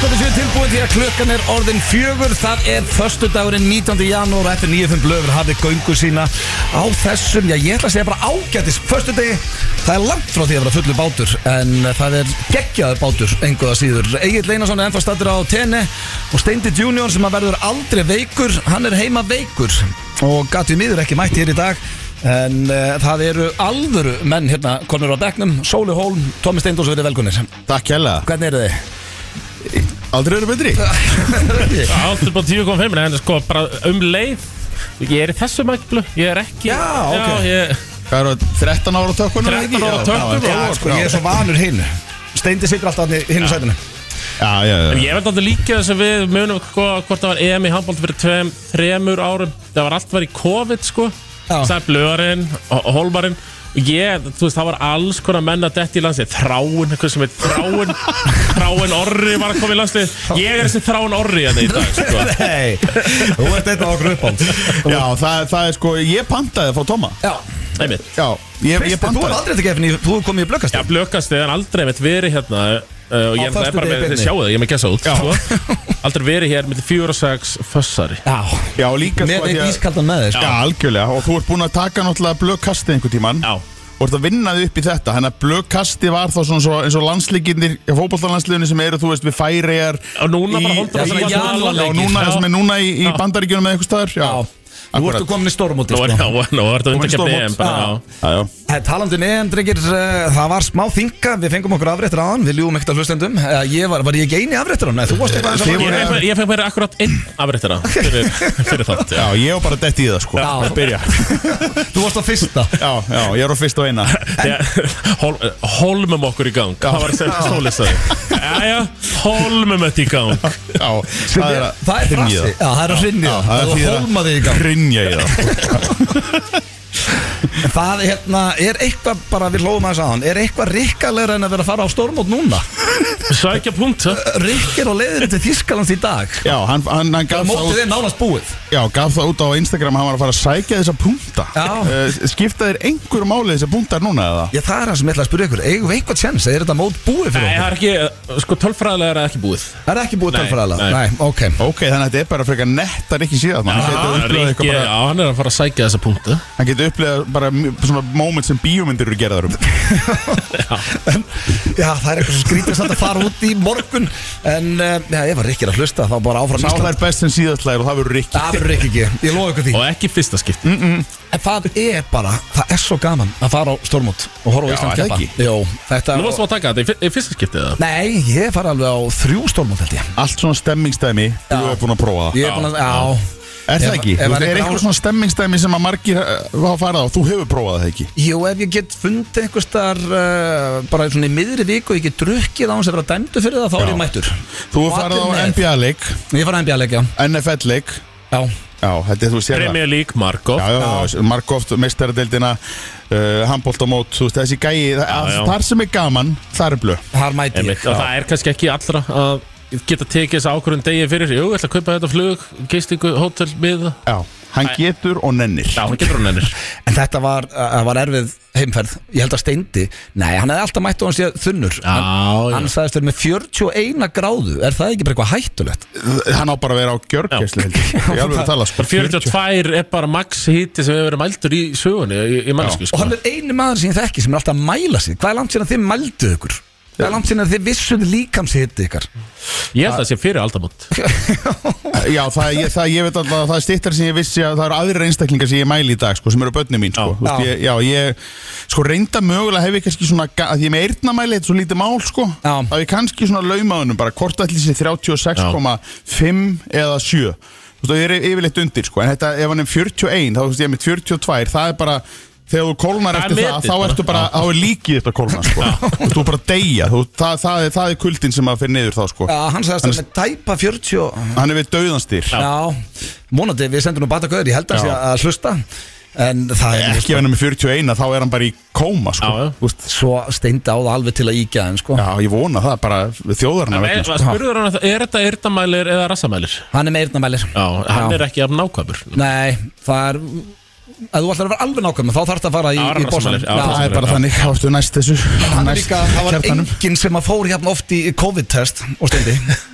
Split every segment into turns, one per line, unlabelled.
gott að séu tilbúin því að klukkan er orðin fjögur Það er förstu dagurinn 19. janúar Eftir 9.5 blöfur hafið göngu sína Á þessum, já ég ætla að segja bara ágætis Förstu degi, það er langt frá því að vera fullur bátur En eh, það er geggjaður bátur Enguða síður Egil Leynason er ennþá stattur á tenni Og Steindi Junior sem að verður aldrei veikur Hann er heima veikur Og gatið miður ekki mætt hér í dag En uh, það eru alvöru menn hérna konur á bekknum, Sóli Hólm, Tómi Steindós verið velkunir.
Takk kjærlega
Hvernig eru þið?
Aldrei eru betri
Allt upp á 10.5 En sko bara um leið Ég er í þessu mæklu Ég er ekki
Já, ok.
já, ég,
Hvað eru 13 ára á tökkunum?
13 ára á
Já,
tökkunum, já,
já,
Sko, ég er svo vanur hinn. Steindi situr alltaf þarna í hinn ja. sætinu.
já, já, já.
ég veit aldrei líka þess að við munum sko, hvort það var EM í handbólt fyrir tveim, þremur árum Það var allt var í COVID sko
Já.
Það er blöðarinn, holmarinn Og ég, þú veist, það var alls konar menn að detti í landslið Þráin, eitthvað sem heit Þráin Þráin Orri var að koma í landslið Ég er þessi Þráin Orri að þetta í dag sko.
Nei, þú ert einn af okkur uppáld.
já það, það er sko, ég pantaði að fá Toma
Já,
Einmitt.
Já, ég,
Kristi,
ég
þú er
pantaði
aldrei til gefni, þú er komið í blökkast.
Já, blökast en aldrei mitt verið hérna uh, og
Á
ég er
föstudegi
bara með,
beinni.
þið sjáu það, ég er með gæsa út sko. aldrei verið hér með 4 og 6 fössari
Já,
Já, líka
með
sko
einn
ég,
ískaldan með þér.
Já, algjörlega Og þú ert búin að taka náttúrulega blökkastið einhver tíman
Já,
Og ert að vinna þið upp í þetta Þannig að blökkasti var þá svona svo, eins og landslíkinir Fótballtarlandsliðinu sem eru, þú veist, við færiðar
og núna bara holdur
já, í
Já,
janúarleikir.
núna, það sem er núna í, í bandaríkjunum eða eitthvað staðar Já,
Já, þú ertu komin í stórmóti.
Nú er
Sko.
það, nú er það
Komin í
undirkjöfni
stórmót.
EM bara, já.
já, já.
Eh, Talandi um EM, drengir, eh, það var smá þinga, við fengum okkur afréttur á hann, við ljúum ekkert að hlustendum. Eh, Ég var, var ég ekki eini afréttur á hann? Þú varst eitthvað eins og
Þið
Ég fekk mér- Ég fekk mér akkurat einn afréttina fyrir, fyrir þátt já.
Já, ég var bara dett í það sko
Já.
Að byrja
Þú varst á fyrsta.
Já, já, ég er á fyrst og eina
Ég- hol, Holmum okkur í gang Það var sem sólistaði Jæja, holmum þetta í gang
Já,
Sem er- það er
hrynja í
frasi. Já, það er að hrynja í það.
það
Það er að
þýðir
hólma þig í gang.
Hrynja í það
En Það hérna, er eitthvað bara, við hlóðum aðeins að hann Er eitthvað rikkalegra en að vera að fara á stórmót núna?
Sækja punkta
Rikk er á leiðinu til Þískalands í dag
Já, hann, hann, hann gaf, það
Mótið
út,
er nánast búið
já, gaf það út á Instagram Hann var að fara að sækja þessa punta
Já.
uh, Skipta þér einhverju máli þessar puntar núna eða?
Já, það er það sem ég ætla að spyrja ykkur Eigum við eitthvað tjens? Er þetta mót búið fyrir
Nei, það
okkur?
er ekki, sko tölfræðilega er það ekki búið
Það er ekki búið
Nei,
tölfræðilega?
nei.
Nei, ok
Ok, þannig að þetta er bara frekar nettar ekki síðan Hann getur upplifað
Ríkki,
eitthvað
já,
bara
hann er að fara að sækja þessa punktu
Hann getur upplifað bara mj- svona moment sem bíómyndir eru gerðar um
Já, það er eitthvað svo skrítið samt að fara út í morgun En, eh, já, ef að Rikk er að hlusta þá bara áfram
Sá það er
Ísland
best sem síðastlæður og það verður Rikki
Það verður Rikk ekki, ég lofa ykkur því
Og ekki fyrsta skipti
En það er bara, það er svo gaman að fara á stórmót og horfa á
Já,
Ísland
er það
keppa
ekki?
Jó, þetta
Nú varst þú að taka þetta í fyr- í fyrsta skiptið eða?
Nei, ég fari alveg á þrjú stórmót held ég
Allt svona stemmingstæmi Þú er búin að prófa það
Ég er búin að, já
Er það
Ef-
ekki?
ef
Þú
hann
veist,
er
er eitthvað
grár-
svona stemmingstæmi sem að margir hafa farið á? Þú hefur prófað það ekki?
Jú, ef ég get fundið einhvers þar uh, bara svona í miðri viku og ég get drukkið á hans að vera dæmdu fyrir það, þá er
Já.
ég mættur Og
Þú hefur farið á
allir með.
NBA-leik,
Ég fara að NBA-leik, já
NFL-leik
Já,
Já, þetta er þú sér það
Premier League, Markov
Já, já, já, margóft meistaradeildina uh, handbóltamót, þú veist, þessi gæi já,
já.
þar sem er gaman, þar er blö
þar mæti
Einmitt,
ég
og það er kannski ekki allra að geta tekið þess ákvörðun degi fyrir Jú, ég ætla að kaupa þetta flug, gistingu, hótel, miða
Já, hann getur og nennir
Já, hann getur hún ennir
En þetta var, uh, var erfið heimferð Ég held að Steindi, nei, hann hefði alltaf mætt og hann sé þunnur Hann,
Já,
hann sagðist verið með 41 gráðu Er það ekki bara eitthvað hættulegt?
Hann á bara að vera á gjörgæslu heldur Ég alveg að tala sko
42 er bara max hiti sem hefur verið mældur í sögunni í, í mannsku
Og
sko.
hann er eini maður sem ég þekki sem er alltaf að mæla sig Hvað er langt síðan þið mælduð ykkur? Hvað er langt síðan þið vissuð líkamshiti ykkar?
Ég held að það sé fyrir aldamót
Já, það, ég, það, ég veit alltaf að það er stittar sem ég vissi að það eru aðrir einstaklingar sem ég mæli í dag sko, sem eru börnum mín sko.
Já.
Þú veist, ég, já, ég sko reynda mögulega hef ég kannski svona ga- að ég er með eyrnamæli, þetta er svo lítið mál sko,
Já.
að ég kannski svona laumaðunum bara hvort allir sé 36,5 eða 7 Þú veist, og ég er yfirleitt undir sko, en þetta ef hann er 41, þá þú veist ég er með 42 það er bara Þegar þú kólnar
Það er
eftir það,
metið
þá
bara.
ertu bara, þá er líkið þetta kólnar, sko. Þú ert bara að deyja, þú, það, það, er, það er kuldin sem að fyrir niður þá, sko.
Já, hann sagðist hann er með tæpa 40 og-
Hann er við dauðanstýr.
Já, mónandi við sendum nú batagöður Ég held að
Já.
sé að hlusta En það er
ekki ef hann er með 41 þá er hann bara í kóma sko.
Já, já.
Þú veist,
svo steinda á það alveg til að íkja þeim sko.
já, ég vona það bara þjóðarna
Nei,
vegna sko.
maður Spurður hann að það- er þetta yrtamælir eða rassamælir?
Hann er meirna hérna mælir
Já, hann er ekki af nákvæmur
Nei, það er Ef þú ætlar að vera alveg nákvæm Þá þarf það að fara í,
Já,
í bossanum
Rasmus, já,
Já,
Það er bara
Já.
þannig, þá ertu næst þessu
Hann er
Næst
líka, það var
kjarnanum.
enginn sem að fór hérna oft í COVID-test og stendi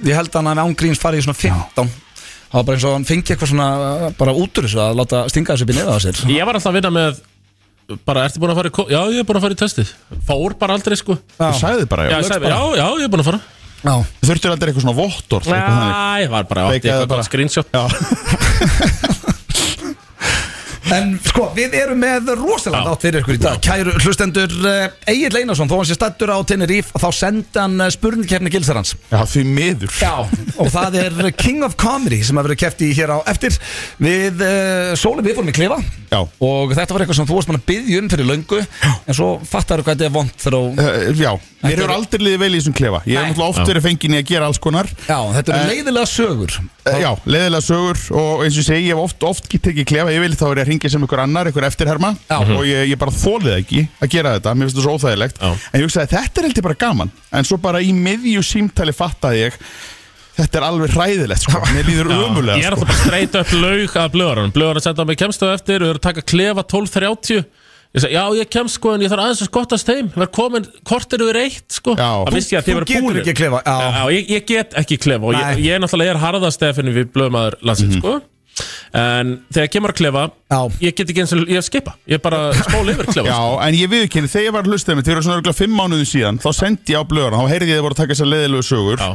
Ég held að hann hafi ángríns farið í svona 15 Það var bara eins og hann fengi eitthvað svona uh, bara út úr þessu að láta stinga þessu upp í neða á sér
Ég var alltaf að vinna með bara, ertu búin að fara í, ko- já, ég er búin að fara í testið fór bara aldrei, sko já,
Þú sagði bara, já,
ég sagði, já, já, ég er búin að fara
Já,
Þurftur aldrei eitthvað svona vottor
Næ, var bara, átti
Feikaði
eitthvað
bara.
bara. screenshot
En sko, við erum með rosalega
Já.
átt fyrir ykkur í dag Kæru hlustendur Egil Einarsson, þó hann sé stattur á Tenerife þá sendi hann spurningkefni gilsarans
Já, því miður
Já, og það er King of Comedy sem að vera keft í hér á eftir Við uh, Sóli, við fórum í Klefa
Já.
Og þetta var eitthvað sem þú varst mann að byggja um fyrir löngu En svo fattar þú hvað þetta er vond þegar þú
Uh, já, mér
Þetta
hefur
er-
aldrei liðið vel í þessum klefa Ég hef
Nei.
náttúrulega oft verið fengin í að gera alls konar
Já, þetta eru
Eh,
leiðilega sögur
Eh, Já, leiðilega sögur og eins og ég segi, ég hef oft, oft tekið klefa Ég vil þá er ég að ringja sem ykkur annar, ykkur eftirherma
Já.
Og ég, ég bara þólið ekki að gera þetta, mér finnst það svo óþægilegt
Mhm. Já.
En ég hugsaði, þetta er heldur bara gaman En svo bara í miðju símtali fattaði ég Þetta er alveg hræðilegt, sko Mér líður sko.
sko.
ömulega,
Ég er alltaf bara straight up laug að blöðarunum Blöðarunum senda mig kemstu á eftir Við erum að taka klefa 12.30 Ég sagði, já ég kemst sko en ég þarf aðeins að skottast heim Verð komin kortir yfir eitt sko
Já.
Það vissi ég að
Þú-
þið
þú
verið
getur
búin
ekki að klefa, já.
ég, ég get ekki klefa Og
Nei. Mhm.
ég, ég er náttúrulega er harðast eða finnum við blöðmaður landsins sko En þegar kemur að klefa
Já.
Ég get ekki eins og ég skipa Ég bara skóla yfir klefa
Já,
sko.
en ég viðkynni, þegar ég var að hlusta þeim, þeir eru svona örgulega fimm mánuðin síðan, þá sendi ég á blöðurna, þá heyrði ég að þeir voru að taka þessar leiðilegu sögur
Já.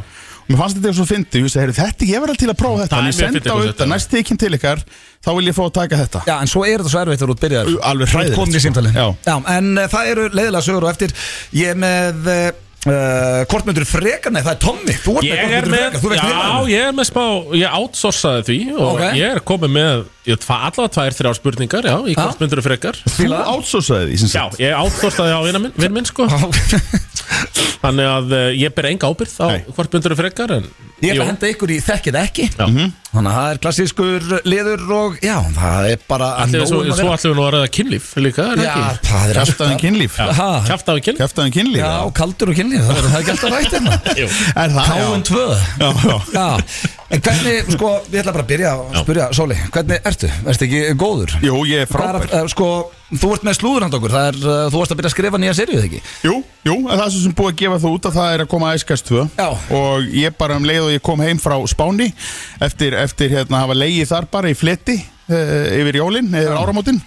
og mér fannst þetta eitthvað svo fyndið, ég hugsaði, heyrðu, þetta, ég verði til að prófa þetta,
Það
en ég
er mjög
sendi
fyndið
á
koncept,
þetta,
já.
næst þegar ég kem til ykkar, þá vil ég fá að taka þetta.
Já, en svo er þetta svo erfitt þegar þú ert byrjaður
Ú, alveg
Þú ert
hræðilegt. sko.
komin í símtali
Já.
en uh, það eru leiðilega sögur og eftir Ég er með uh, uh, Kortmyndur frekar, nei það er Tommy Þú ert
Ég
með
er
Kortmyndur
með,
frekar, þú veist
já,
meira um.
ég er með spá, ég outsourcaði því og
Ok.
ég er komið með, ég tva, allavega tvær, þrjár spurningar, já, í
Já.
hvort myndur frekar.
Þú átsósaði því, sem
Já,
sagt.
ég átþórstaði á vinn minn, vin minn sko Þannig að eh, ég ber enga ábyrð á
Nei.
hvort myndur frekar en
Ég ætla
Jú.
að henda Mhm. ykkur í þekkið ekki
Já.
Þannig að það er klassískur liður og já, það er bara að
Allir svo,
nóg um að
svo
vera.
allir við nú að ræða kynlíf líka, er það
Já,
ekki?
það er alltaf
Kæftaðin kynlíf.
Ha?
Kjafta á kynlíf?
Kæftaðin kynlíf.
Já,
eða?
kaldur og kynlíf, það er það er ekki alltaf rætt hérna
Jú.
Er það?
Káin
Já.
2
Já, já.
Já, en hvernig, sko, ég ætla bara að byrja að spyrja, Sóli, hvernig ertu? Ertu ekki góður?
Jú, ég
Hvað
er
er
frábær.
að- eh, Sko, þú ert með slúður hand okkur, það er, eh, þú ert að byrja að skrifa nýja serið, ekki?
Jú, jú, en það er svo sem búið að gefa þú út að það er að koma æskast tvö
Já.
og ég bara um leið og ég kom heim frá Spáni eftir, eftir hérna hafa leiði þar bara í fleti uh, yfir jólin, yfir áramótin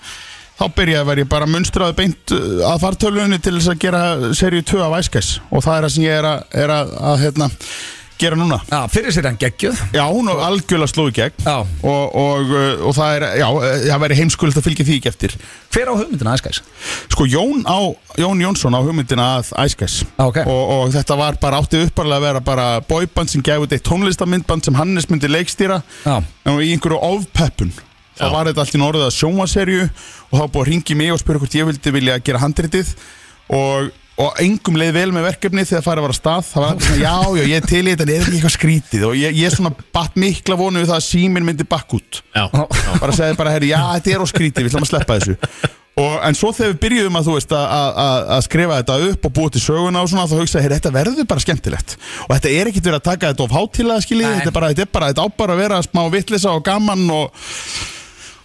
þá byrjaði að vera ég bara munstraði beint eh, að fartölunni til þess að gera serið 2 af æskast og það er það sem ég er að, er að, að hérna, gera núna
Já, fyrir sér hann geggjöð
Já, hún var algjörlega slói gegn
Já.
og, og, eh, og það er, já, eh, það væri heimskulegt að fylgja því ekki eftir
Hver á hugmyndina, æskæs?
Sko Jón, á, Jón Jónsson á hugmyndina að Æskæs
Ah, ok.
og, og þetta var bara áttið upparlega að vera bara boyband sem gæfi út eitt tónlistamindband sem Hannes myndi leikstýra
Já.
en í einhverju ofpeppun þá
Já.
var þetta allt í norðið að sjónvaserju og þá var búið að ringi mig og spyrja hvort ég vildi vilja gera handritið og, og engum leið vel með verkefni þegar farið var að stað það var alltaf svona já, já, ég er til í þetta en er ekki eitthvað skrítið og ég, ég svona batt mikla vonu við það að síminn myndi bakk út
Já, já,
bara segði bara, herri, já, þetta er á skríti við ætlum að sleppa þessu og, en svo þegar við byrjuðum að, þú veist, að, að, að skrifa þetta upp og búið til söguna og svona þá hugsaði, herri, þetta verður bara skemmtilegt og þetta er ekkit verið að taka þetta of hátilega skiljið,
Nei.
þetta er bara, þetta er bara, þetta á bara að vera smá vitlisa og gaman og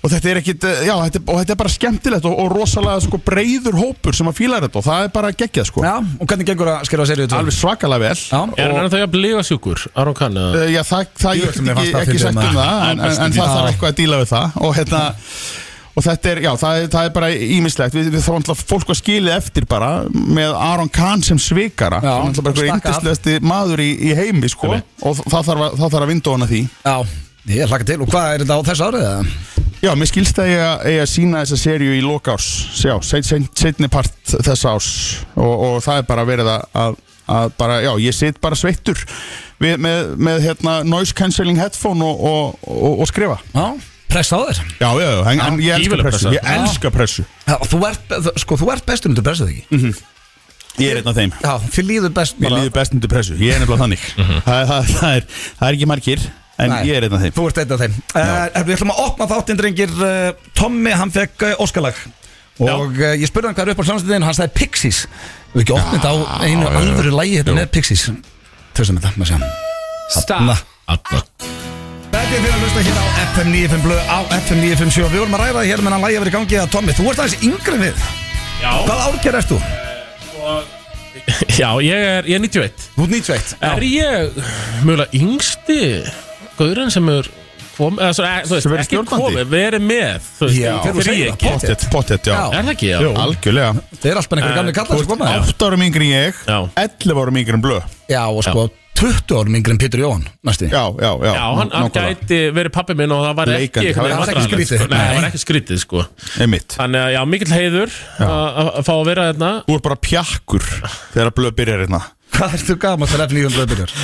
Og þetta er ekkit, já, þetta, er- og þetta er bara skemmtilegt og, og rosalega sko breyður hópur sem að fíla þetta og það er bara geggjað sko
Já, og hvernig gengur að skrifa serið tvö?
Alveg svakalega vel
Já.
er hann ennþá jafn líga sjúkur, Aron Kahn eða?
Uh, Já, það, það
Jú,
ég
sem
get
mér fannst
ekki,
það
ekki
fyndið
sagt um
maður.
það en, en, en
Já.
það þarf eitthvað að díla við það og hérna og þetta er, já, það er, það er bara ímislegt við, við þá alltaf fólk að skilja eftir bara með Aron Kahn sem svikara
Já,
hann alltaf bara einhver
stakka af.
yndislegasti maður í, í heimi sko,
Einmitt.
og þa- það þarf, að, það þarf að vindu hana því
Já, ég hlaka til, og hvað er þetta á þessu árið? eða?
Já, mér skilst að ég að- ég að sína þessa serju í loka árs, já, set, set, setni part þessa árs og, og það er bara verið að, að, að bara, já, ég sit bara sveittur við, með, með hérna, noise cancelling headphone og, og, og, og skrifa
Já, pressa á þér
Já, já, já, en, en ég elska
gífurleg
pressu
pressa.
Ég elska pressu
Já, og þú ert, sko, þú ert bestur undir pressað ekki
Ég er einn af þeim
Já, þið líður best
Mér líður best undir pressu, ég er nefnilega þannig það, það, það, er, það er ekki margir En
Nei.
ég er einn af þeim
Þú ert einn af þeim uh, Við ætlum að opna þáttinn drengir uh, Tommy, hann fekk uh, Óskalag Og uh, ég spurði hann hvað er upp á samstæðinu Hann sagði Pixies Við ekki opnið á
Ah,
einu alvöru lægi hérna með Pixies Tjóðsum þetta, maður sé hann
Alla.
Þetta þið fyrir að hlusta hér á FM 95 blöð á FM 957 Við vorum að ræða hér meðan lægja verið í gangi að Tommi, þú ert aðeins yngri en við
Já,
Hvað árgerð erst þú?
já ég, er, ég er 91
Þú ert 91
Er ég mögulega yngsti Gaurinn sem er kom, eða, svo, e, þú veist,
Sem verið
ekki
stjórnandi?
komið, verið með þú veist,
Já.
í þeirri
Þegar þú segir
ekki.
það,
Pottet, pottet, já,
Já.
Er það ekki, já?
Jú, Algjörlega
Það er alltaf
Eh,
einhverjum gamli kallar sem koma já.
8 árum yngri en ég,
Já.
11 árum yngri en blöð
já, og sko 20 árum yngri en Pétur Jóhann næstu
Já, já, já
Já, hann, hann
nákvæmlega.
gæti verið pappi minn og það var ekki
Leikandi,
einhvern
það
var
veginn
ekki
vandræðalegt,
skrítið.
sko. Nei, það
Nei.
var ekki skrítið sko
Einmitt
Þannig að já, mikill heiður að að fá að vera hérna. þarna
Þú ert bara pjakkur þegar blöð byrjar hérna
Hvað ertu gaman þegar FM 95 blöð byrjar?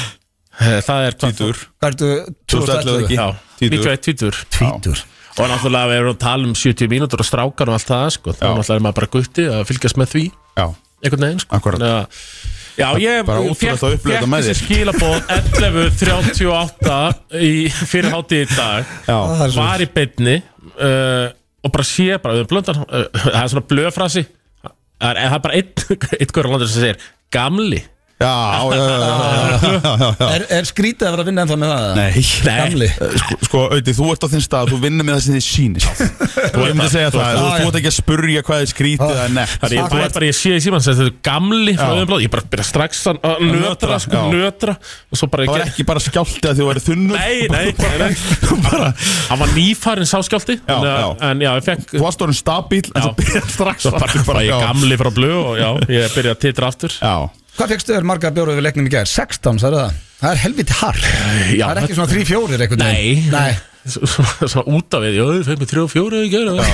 Eh, Það er
Títur
Hvað ertu
2011
2011?
ekki?
Já,
Tvítugur.
91, 20
Tvítur
Og náttúrulega við erum að tala um 70 mínútur og strákar og allt það sko Þá
Já.
náttúrulega er maður bara gutti að fylgjast með því
Já,
einhvern veginn sko
Akkúrat.
Þannig að- Já, ég
Bara ótrúlegt
fékk-
að upplifa
fékk
þetta með
þessi
þér.
skilabóð 11.38 í fyrir hátíð í dag
já,
var í beinni uh, og bara sé bara, við blöndar uh, það er svona blöfrasi það er, það er bara einn einn hverju landur sem segir gamli
já, já, já, já, já, já, já, já.
er, er skrítið að vera að vinna ennþá með það? eða?
Nei,
Gamli
Sko, sko Auði, þú ert á þinn stað, þú vinnur með það sem þið sýnist Þú erum
ert
að
það,
segja
þú
það,
ert
þú
það.
þú ert ekki að spurja hvað þið skrítið eða nett
Það er ég, bara, bara ég sé í síman sem þetta er gamli frá öðum blóð, ég bara byrja strax að að nötra,
Nötra,
sko,
já.
nötra og svo bara
Það var
ég gekk
ekki bara skjáltið að þú væri þunnur
Nei, nei, nei, nei.
bara,
hann var nýfærin sáskjálti
Já,
en, uh,
já.
en já, ég fekk
Þú varst orðin stabíl en
Já.
þú byrjar strax
svo bara, bara ég
já.
gamli frá blöð og já, ég byrja að titra aftur
Já,
Hvað fegstu þér marga bjóru við leiknum í gær? 16, sagði það Það er helviti hark
já,
Það er ekki svona 3-4 einhvern
Nei,
veginn Nei
Svona, svona út af við, jú, við fengum þrjá og fjóra í gera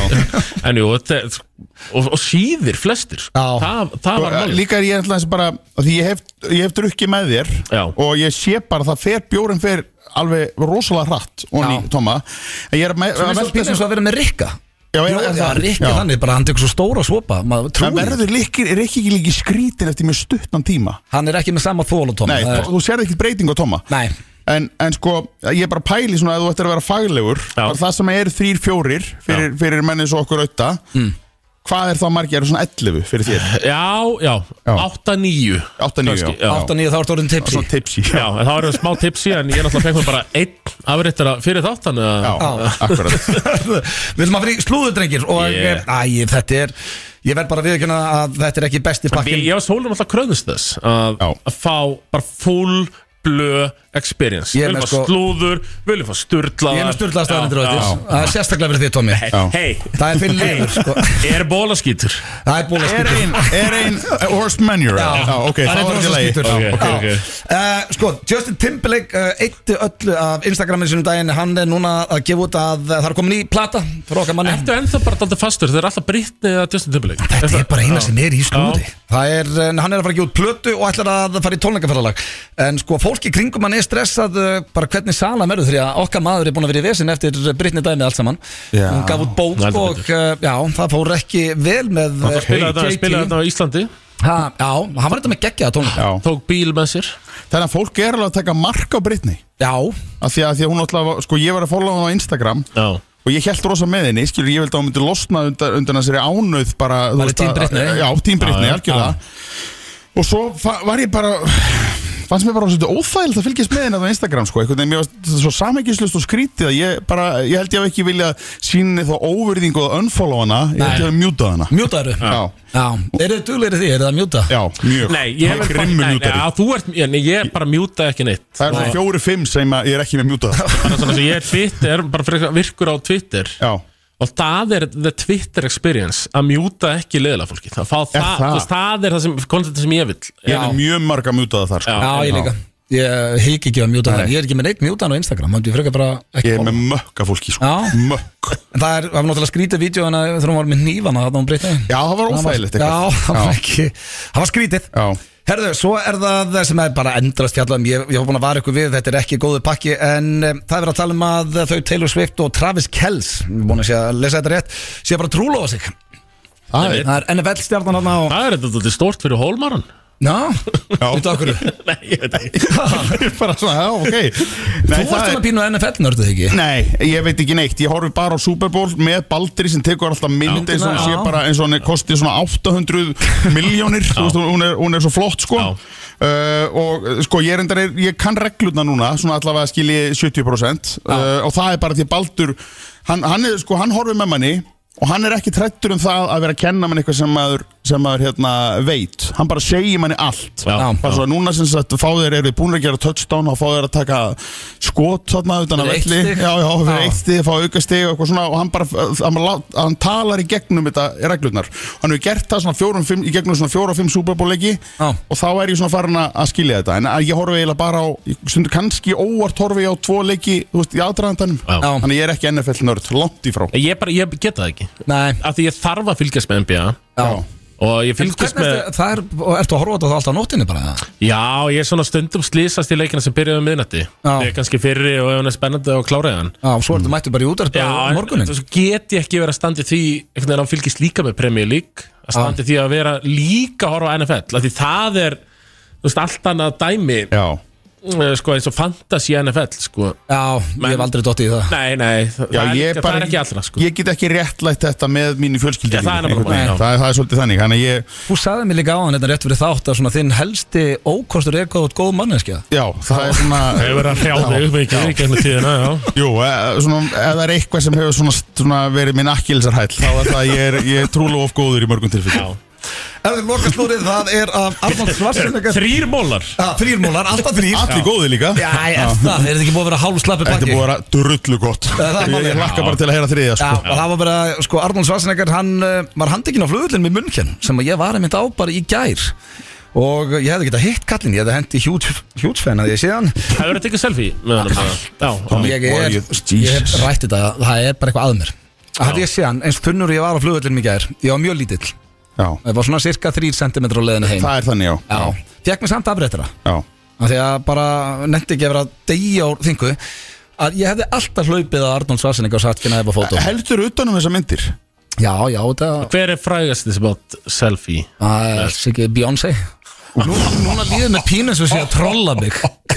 En jú, þetta er og, og síðir flestir
Já.
Það, það var
Sko,
málið
Líka er ég ætla þess bara af Því ég hef, ég hef drukkið með þér
Já.
Og ég sé bara að það fer bjórin fer Alveg rosalega hratt Og ný,
Já.
Tóma En ég er með,
Það
að
er svo
velta
písum
þessu-
svo að vera með Rikka
Já, er-
Jó,
er
já,
það-
Rikki
já.
þannig, bara hann tekur svo stóra svopa Maður
En
trúir
verður líkir, er ekki líki skrítin Eftir mjög stuttan tíma
Hann er ekki með sama þólutóma
Nei, er... þú sérði ekki breyting á Tóma
Nei,
En, en sko, ég er bara pæli svona að þú ættir að vera faglegur
Já.
bara Það sem er þrýr fjórir fyrir, fyrir mennið svo okkur auðta mm. Hvað er þá margir, er það svona 11 fyrir þér?
Já, já,
Já.
8-9
8, 9,
Kannski,
já,
8-9 þá ertu orðin tipsi
Svona tipsi
Já, en það var smá tipsi En ég náttúrulega fekk mér bara einn afréttara fyrir þátt Þannig að
Já, akkurat
Við viljum að fyrir slúður drengir Og yeah.
Yeah.
æ, þetta er Ég verð bara að viðkjöna að þetta er ekki besti
Við,
pakkin
ég var sólum alltaf kröðnist þess að,
Já.
að fá bara full blö experience
Ég er
Við viljum
með
fá
sko-
slúður, við viljum fá sturlaðar
Ég er með sturlaða staðarindur á
Já,
þetta
já.
Það er sérstaklega fyrir því, Tommy
Hei,
Já.
hei,
Það er fyrir liður, sko
er bólaskítur
Það er búin að
Er
skýta
ein, er ein horse manure Já, ok, þá
Það
er
er
þetta
rosa
leið
skítur.
Já, ok, ok.
Já. Eh, Sko, Justin Timberlake uh, eitti öllu af Instagraminu sinum daginn Hann er núna að gefa út að það er komin í plata fyrir okkar manni
Ertu ennþá bara daldið fastur? Þeir eru alltaf Britney eða Justin Timberlake
Þetta er bara eina
Já.
sem er í slúði
Já.
Það er, eh, hann er að fara að gefa út plötu og ætlar að fara í tónleikaferðalag En sko, fólki kringum hann er stressað eh, bara hvernig salam eru því að okkar maður er búin að vera í vesin eftir Brittany dæmi allt saman
Já.
Hún gaf út bók
Nei, heldur
og eh, já, það fór ekki vel með eh,
Spilaði þetta- Spilaði þetta á Íslandi
Ha, Já, hann var þetta með geggjaða tónleika
Já.
Tók bíl með sér
Þannig að fólk er alveg að taka mark á Britni
Já,
Af því að, því að hún alltaf, var- sko ég var að followa hún á Instagram
Já
Og ég held rosa með henni, skilur, ég vildi að hún myndi losna undan, undan þessari ánöð bara þú
Bara
veist,
Team
að-
Britney.
Já, tím Britni,
Já, já.
algjörlega Og svo fa- var ég bara, fannst mér bara svolítið óþægilegt að fylgjast með henni á Instagram, sko Einhvern veginn, mér varst þetta svo samekislust og skrítið að ég bara, ég held ég hef ekki vilja síni þá óverðingu að unfollow hana Ég held ég hef mjútað hana
Mjútaður
Já.
Já Eru þið duglegri því, eru það að mjúta?
Já, mjög
Nei, ég
Það
er
er
bara
grimmur
nei, nei,
mjútari.
já, Þú ert, ég, nei, ég bara mjúta ekki neitt
Það er svona fjóri-fimm sem að ég er ekki með mjútað
Þannig að svona sem ég er Twitter, bara fyrir virkur á Twitter
Já
Og það er the Twitter experience Að mjúta ekki leðilega fólki Það, það, það,
það?
það, það er það sem, kontentin sem ég vil
Ég er með mjög marga mjútaða þar sko.
Já, ég líka Ég hík ekki á mjúta það Ég er ekki með neitt mjútaðan á Instagram Þannig ég frekar bara ekki
Ég er
fólk
með mökka fólki sko.
Já.
Mökk
En það er, það var náttúrulega skrítið vídeo Þannig að hún var með nýfana Þannig að hún breytið
Já, það var óþægilegt
Já, það var ekki Það var skrítið
Já.
Herðu, svo er það það sem er bara endrast fjallað um, ég, ég var búin að vara ykkur við, þetta er ekki góðu pakki en um, það er verið að tala um að þau Taylor Swift og Travis Kells, ég er búin að sé að lesa þetta rétt, sé bara að trúlofa sig
Það er
Það er NFL stjarnan hann á
Það er þetta dálítið stórt fyrir hólmaran
Já, veitu okkur Þú
Nei, ég veit ekki
bara svona, já, ok Nei,
varst
það
hann
er-
að pínu NFL nörduð ekki
Nei, ég veit ekki neitt, ég horfi bara á Super Bowl með Baldri sem tekur alltaf mynd eins og hún sé
Já.
bara eins og hún er- kosti svona 800 miljónir, þú veist, hún er, hún er svo flott sko
Já.
Uh, og uh, sko ég reyndar er, ég kann regluna núna svona allavega skilji 70% uh, og það er bara því Baldur hann, hann er sko, hann horfir með manni og hann er ekki trættur um það að vera að kenna mann eitthvað sem maður, sem maður hérna veit, hann bara segir manni allt
Já,
bara
já.
svo að núna sem sagt fá þeir eru búin að gera touchdown og fá þeir að taka skot þarna utan að
Fyrir eitt
velli
stig?
já, já, fyrir
Já.
eitt stig, fá auka stig og eitthvað svona og hann bara, hann, bara lát- hann talar í gegnum þetta reglurnar hann hefur gert það svona fjórum, fimm, í gegnum svona fjóra og fimm superbóleiki
Já.
og þá er ég svona farin að að skilja þetta en ég horfi eiginlega bara á, ég stundur kannski óvart horfi ég á tvo leiki, þú veist, í aðdraðandanum
Já.
Já.
þannig ég er ekki NFL nörd, langt í frá
Ég, bara, ég get það ekki
Nei,
Af því ég þarf að fylgjast með NBA
já
Og ég
En
fylgjast
hvernig
með
ertu, það er, og ertu að horfa á þetta þá alltaf á nóttinni bara? eða?
Já, ég er svona stundum slýsast í leikina sem byrjaði um miðnætti
Já.
Ég er kannski fyrri og ef hann er spennandi og kláraði hann
Já, svo ertu mættu bara í útarp á
en-
morgunin
en Svo get ég ekki verið að standi því einhvern veginn að hann fylgist líka með Premier League að standi því að vera líka að horfa á NFL af því það er þú veist, allt annað dæmi
Já,
eh, sko, eins og fantasy NFL sko.
Já, ég hef aldrei dottið í það
Nei, nei, það,
Já,
það, er,
ég
ekki, það
bara-
er ekki allra sko.
ég get ekki réttlætt þetta með mínu fjölskyldi
Já, það er nefnilega málið, já.
það, er- það er svolítið þannig, þannig að ég
Þú sagði mér líka á hann þetta rétt fyrir þátt að svona þinn helsti ókostur er góð, góð manneskja
Já, það er svona
hefur verið að hrjáða upp mikið í gegnum tíðina já.
Jú, eh, svona, ef það er eitthvað sem hefur svona, svona verið minn akkilsarhæll þá er það að ég er, ég er trúlega of góður í mörgum tilfellum
Er þið loka slúrið, það er af Arnold Schwarzenegger
Þrýr mólar
Þrýrmólar, alltaf þrýr
Allir góðir líka
Já, ég er það, er þetta ekki búið að vera hálf slappi
Þetta er
baki
búið að vera drullu gott
það er
Ég,
málið.
ég lakka bara til að heyra þriðja
Já,
sko.
og það var bara, sko, Arnold Schwarzenegger, hann uh, var handekinn á flugvöllin með munnkjenn sem að ég var einmitt á bara í gær og ég hefði getað hitt kallin, ég hefði hendi huge, huge fan að ég sé hann
Það verið að tekja selfie með honum eða? Já,
ég er,
boy,
ég hef rætt þetta, það er bara eitthvað að mér Hafði ég séð hann, eins þunnur og ég var á flugvöllin í gær, ég var mjög lítill
Já.
Það var svona cirka 3 cm á leiðinu heim
Það er þannig, já
Já, fekk mér samt afréttara
Já,
af Því að bara nefndi ekki að vera degi á þingu að ég hefði alltaf hlaupið að Arnold Svarsenning og sagt finna efa fótó
Heldur utanum þessar myndir
Já, já, þetta
Hver er frægast þessi bát selfie?
það Ah, er sikið Beyoncé Nú, Núna líður með pínum sem sé að trolla mig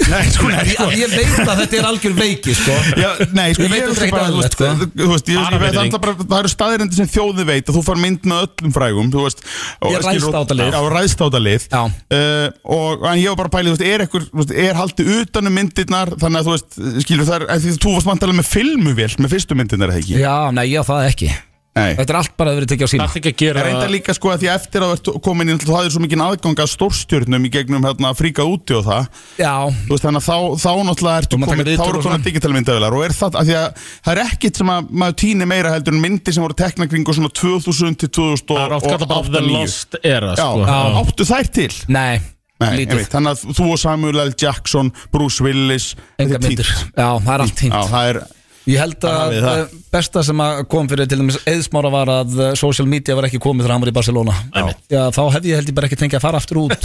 Nei, sko, nei,
Ég, ég veit að þetta er algjör veiki, sko
Já, nei, sko,
Ég veit þetta
hugsa
ekki
bara, þú
eðlilegt,
veist,
sko.
þú veist, ég- ég veit
Arabiring.
alltaf bara, það eru staðirindir sem þjóði veit að þú far mynd með öllum frægum, þú veist og-
Ég ræðst á þetta lið.
Já, ræðst á þetta lið
Já.
Eh, Og en ég var bara að pæla, þú veist, er ekkur, þú veist, er haldið utanum myndirnar þannig að þú veist, skilur það er, en því þú varst mantalega með filmuvél með fyrstu myndirnar, eða ekki?
Já, nei, ég á það ekki Þetta
Nei
er allt bara að vera tekið á sína
Það er ekki að gera
Það reyndar líka sko að því eftir að þú ert komin inn þú hafðir svo mikinn aðgang að stórstjörnum í gegnum hérna fríkað úti og það
Já,
Þú veist, þannig að þá, þá náttúrulega ertu
Og maður tekur
komin, þá
viðtöl
eru
og
komin
svona.
digitalmyndavilar og er það, af því að það er ekkit sem að maður týnir meira heldur en myndir sem voru tekna kringu svona 2000 til
Það er oft kallað bara The
2008
Lost Era
Já,
sko.
áttu þær til
nei,
Nei,
lítið
einmitt, þannig að þú og Samuel L. Jackson, Bruce Willis
Enga
þetta er týnt.
myndir, já, það er allt
Já,
tínt
það er,
Ég held að
hafið það.
eh, besta sem að kom fyrir til dæmis eðsmára var að eh, social media var ekki komið þegar hann var í Barcelona Já,
Einmitt.
þá hefði ég held ég bara ekki tengið að fara aftur út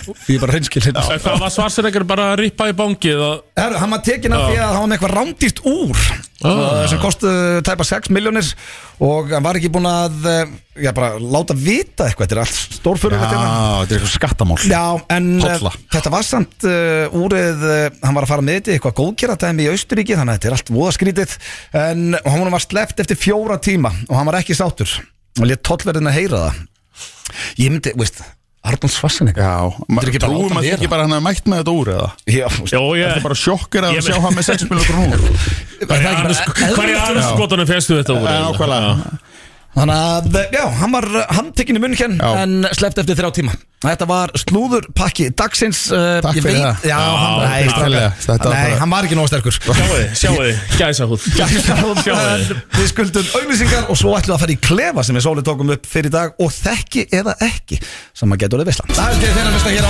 Því ég er bara reynskilinn
En Það var svarsiregur bara að rippa í bangið og...
Herru, hann var tekin af því að hann var með eitthvað rándýrt úr
Ah.
ah. sem kostu tæpa 6 miljónir og hann var ekki búin að eh, já, bara láta vita eitthvað þetta er allt
já,
stórfurður
þetta er eitthvað skattamál
Já, en
Tolla.
uh, þetta var samt uh, úrið, uh, hann var að fara með þetta í eitthvað góðgeratæmi í Austuríki, þannig að þetta er allt voðaskrítið, en hann var sleppt eftir fjóra tíma og hann var ekki sátur og létt tollverðin að heyra það Ég myndi, veist, Arnold Schwarzenegger
Já,
ekki bara
maður
láta
trúum að
vera?
ekki bara hann hafa mætt með þetta úr eða
Já, veist,
Jó, ég...
Það er bara sjokkir að
Ég-
sjá hann með 6 miljónur núna
er það ekki bara sko- eðlilegt?
Hverju aðurskotunum fegstu þetta úr?
Já, nákvæmlega.
Þannig að, já, hann var handtekinn í munn hér
Já.
en sleppt eftir þrjá tíma Þetta var slúðurpakki dagsins uh,
Takk
ég
fyrir
veit-
það.
Já, hann,
Já,
nei,
takk fyrir það. Þetta
strákar.
var
nei,
bara-
hann var ekki nóg sterkur
Sjáu þið, sjáu þið, gæsa húð Sjáu þið
Við skuldum auglýsingar og svo ætlum við að fara í klefa sem við sólið tókum upp fyrir í dag og þekki eða ekki sem að geta orðið veisla Það er til þeirra veisla hér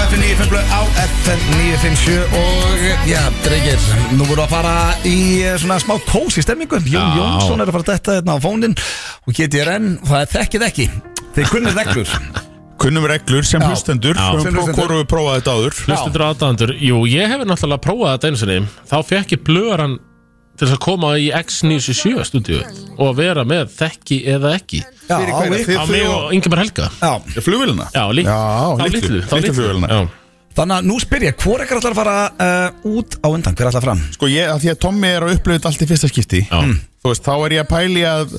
á FM 957 á FM 957 og já, drengir, nú voru að fara í eh, svona smá kósi stemmingu Jón
Já.
Jónsson er að fara að detta hérna á fónin og getið renn, það er þekkið ekki Þeir kunnir reglur
Kunnum reglur sem
Já.
hlustendur
Já.
Sem
Sem
pró-
hlustendur.
hvoru við prófaði þetta áður
Hlustundur aðdæðandur, jú, ég hef náttúrulega prófað þetta einu sinni Þá fekk ég blöðaran til þess að koma í X97 stúdíu og vera með þekki eða ekki
Já,
Fyrir hverja?
við-
Þið-
á mig og Ingemar Helga
já.
Flugvélina?
Já, lít,
Já,
þá
litlu,
litlu, þá
litlu
litlu,
flugvélina.
Já.
Þannig að nú spyr ég, hvor ekkert ætlar að fara uh, út á undan, hver ætlar fram?
Sko ég, að því að Tommy er að upplöfa þetta allt í fyrsta skipti
Já. Mm.
Þú veist, þá er ég að pæli að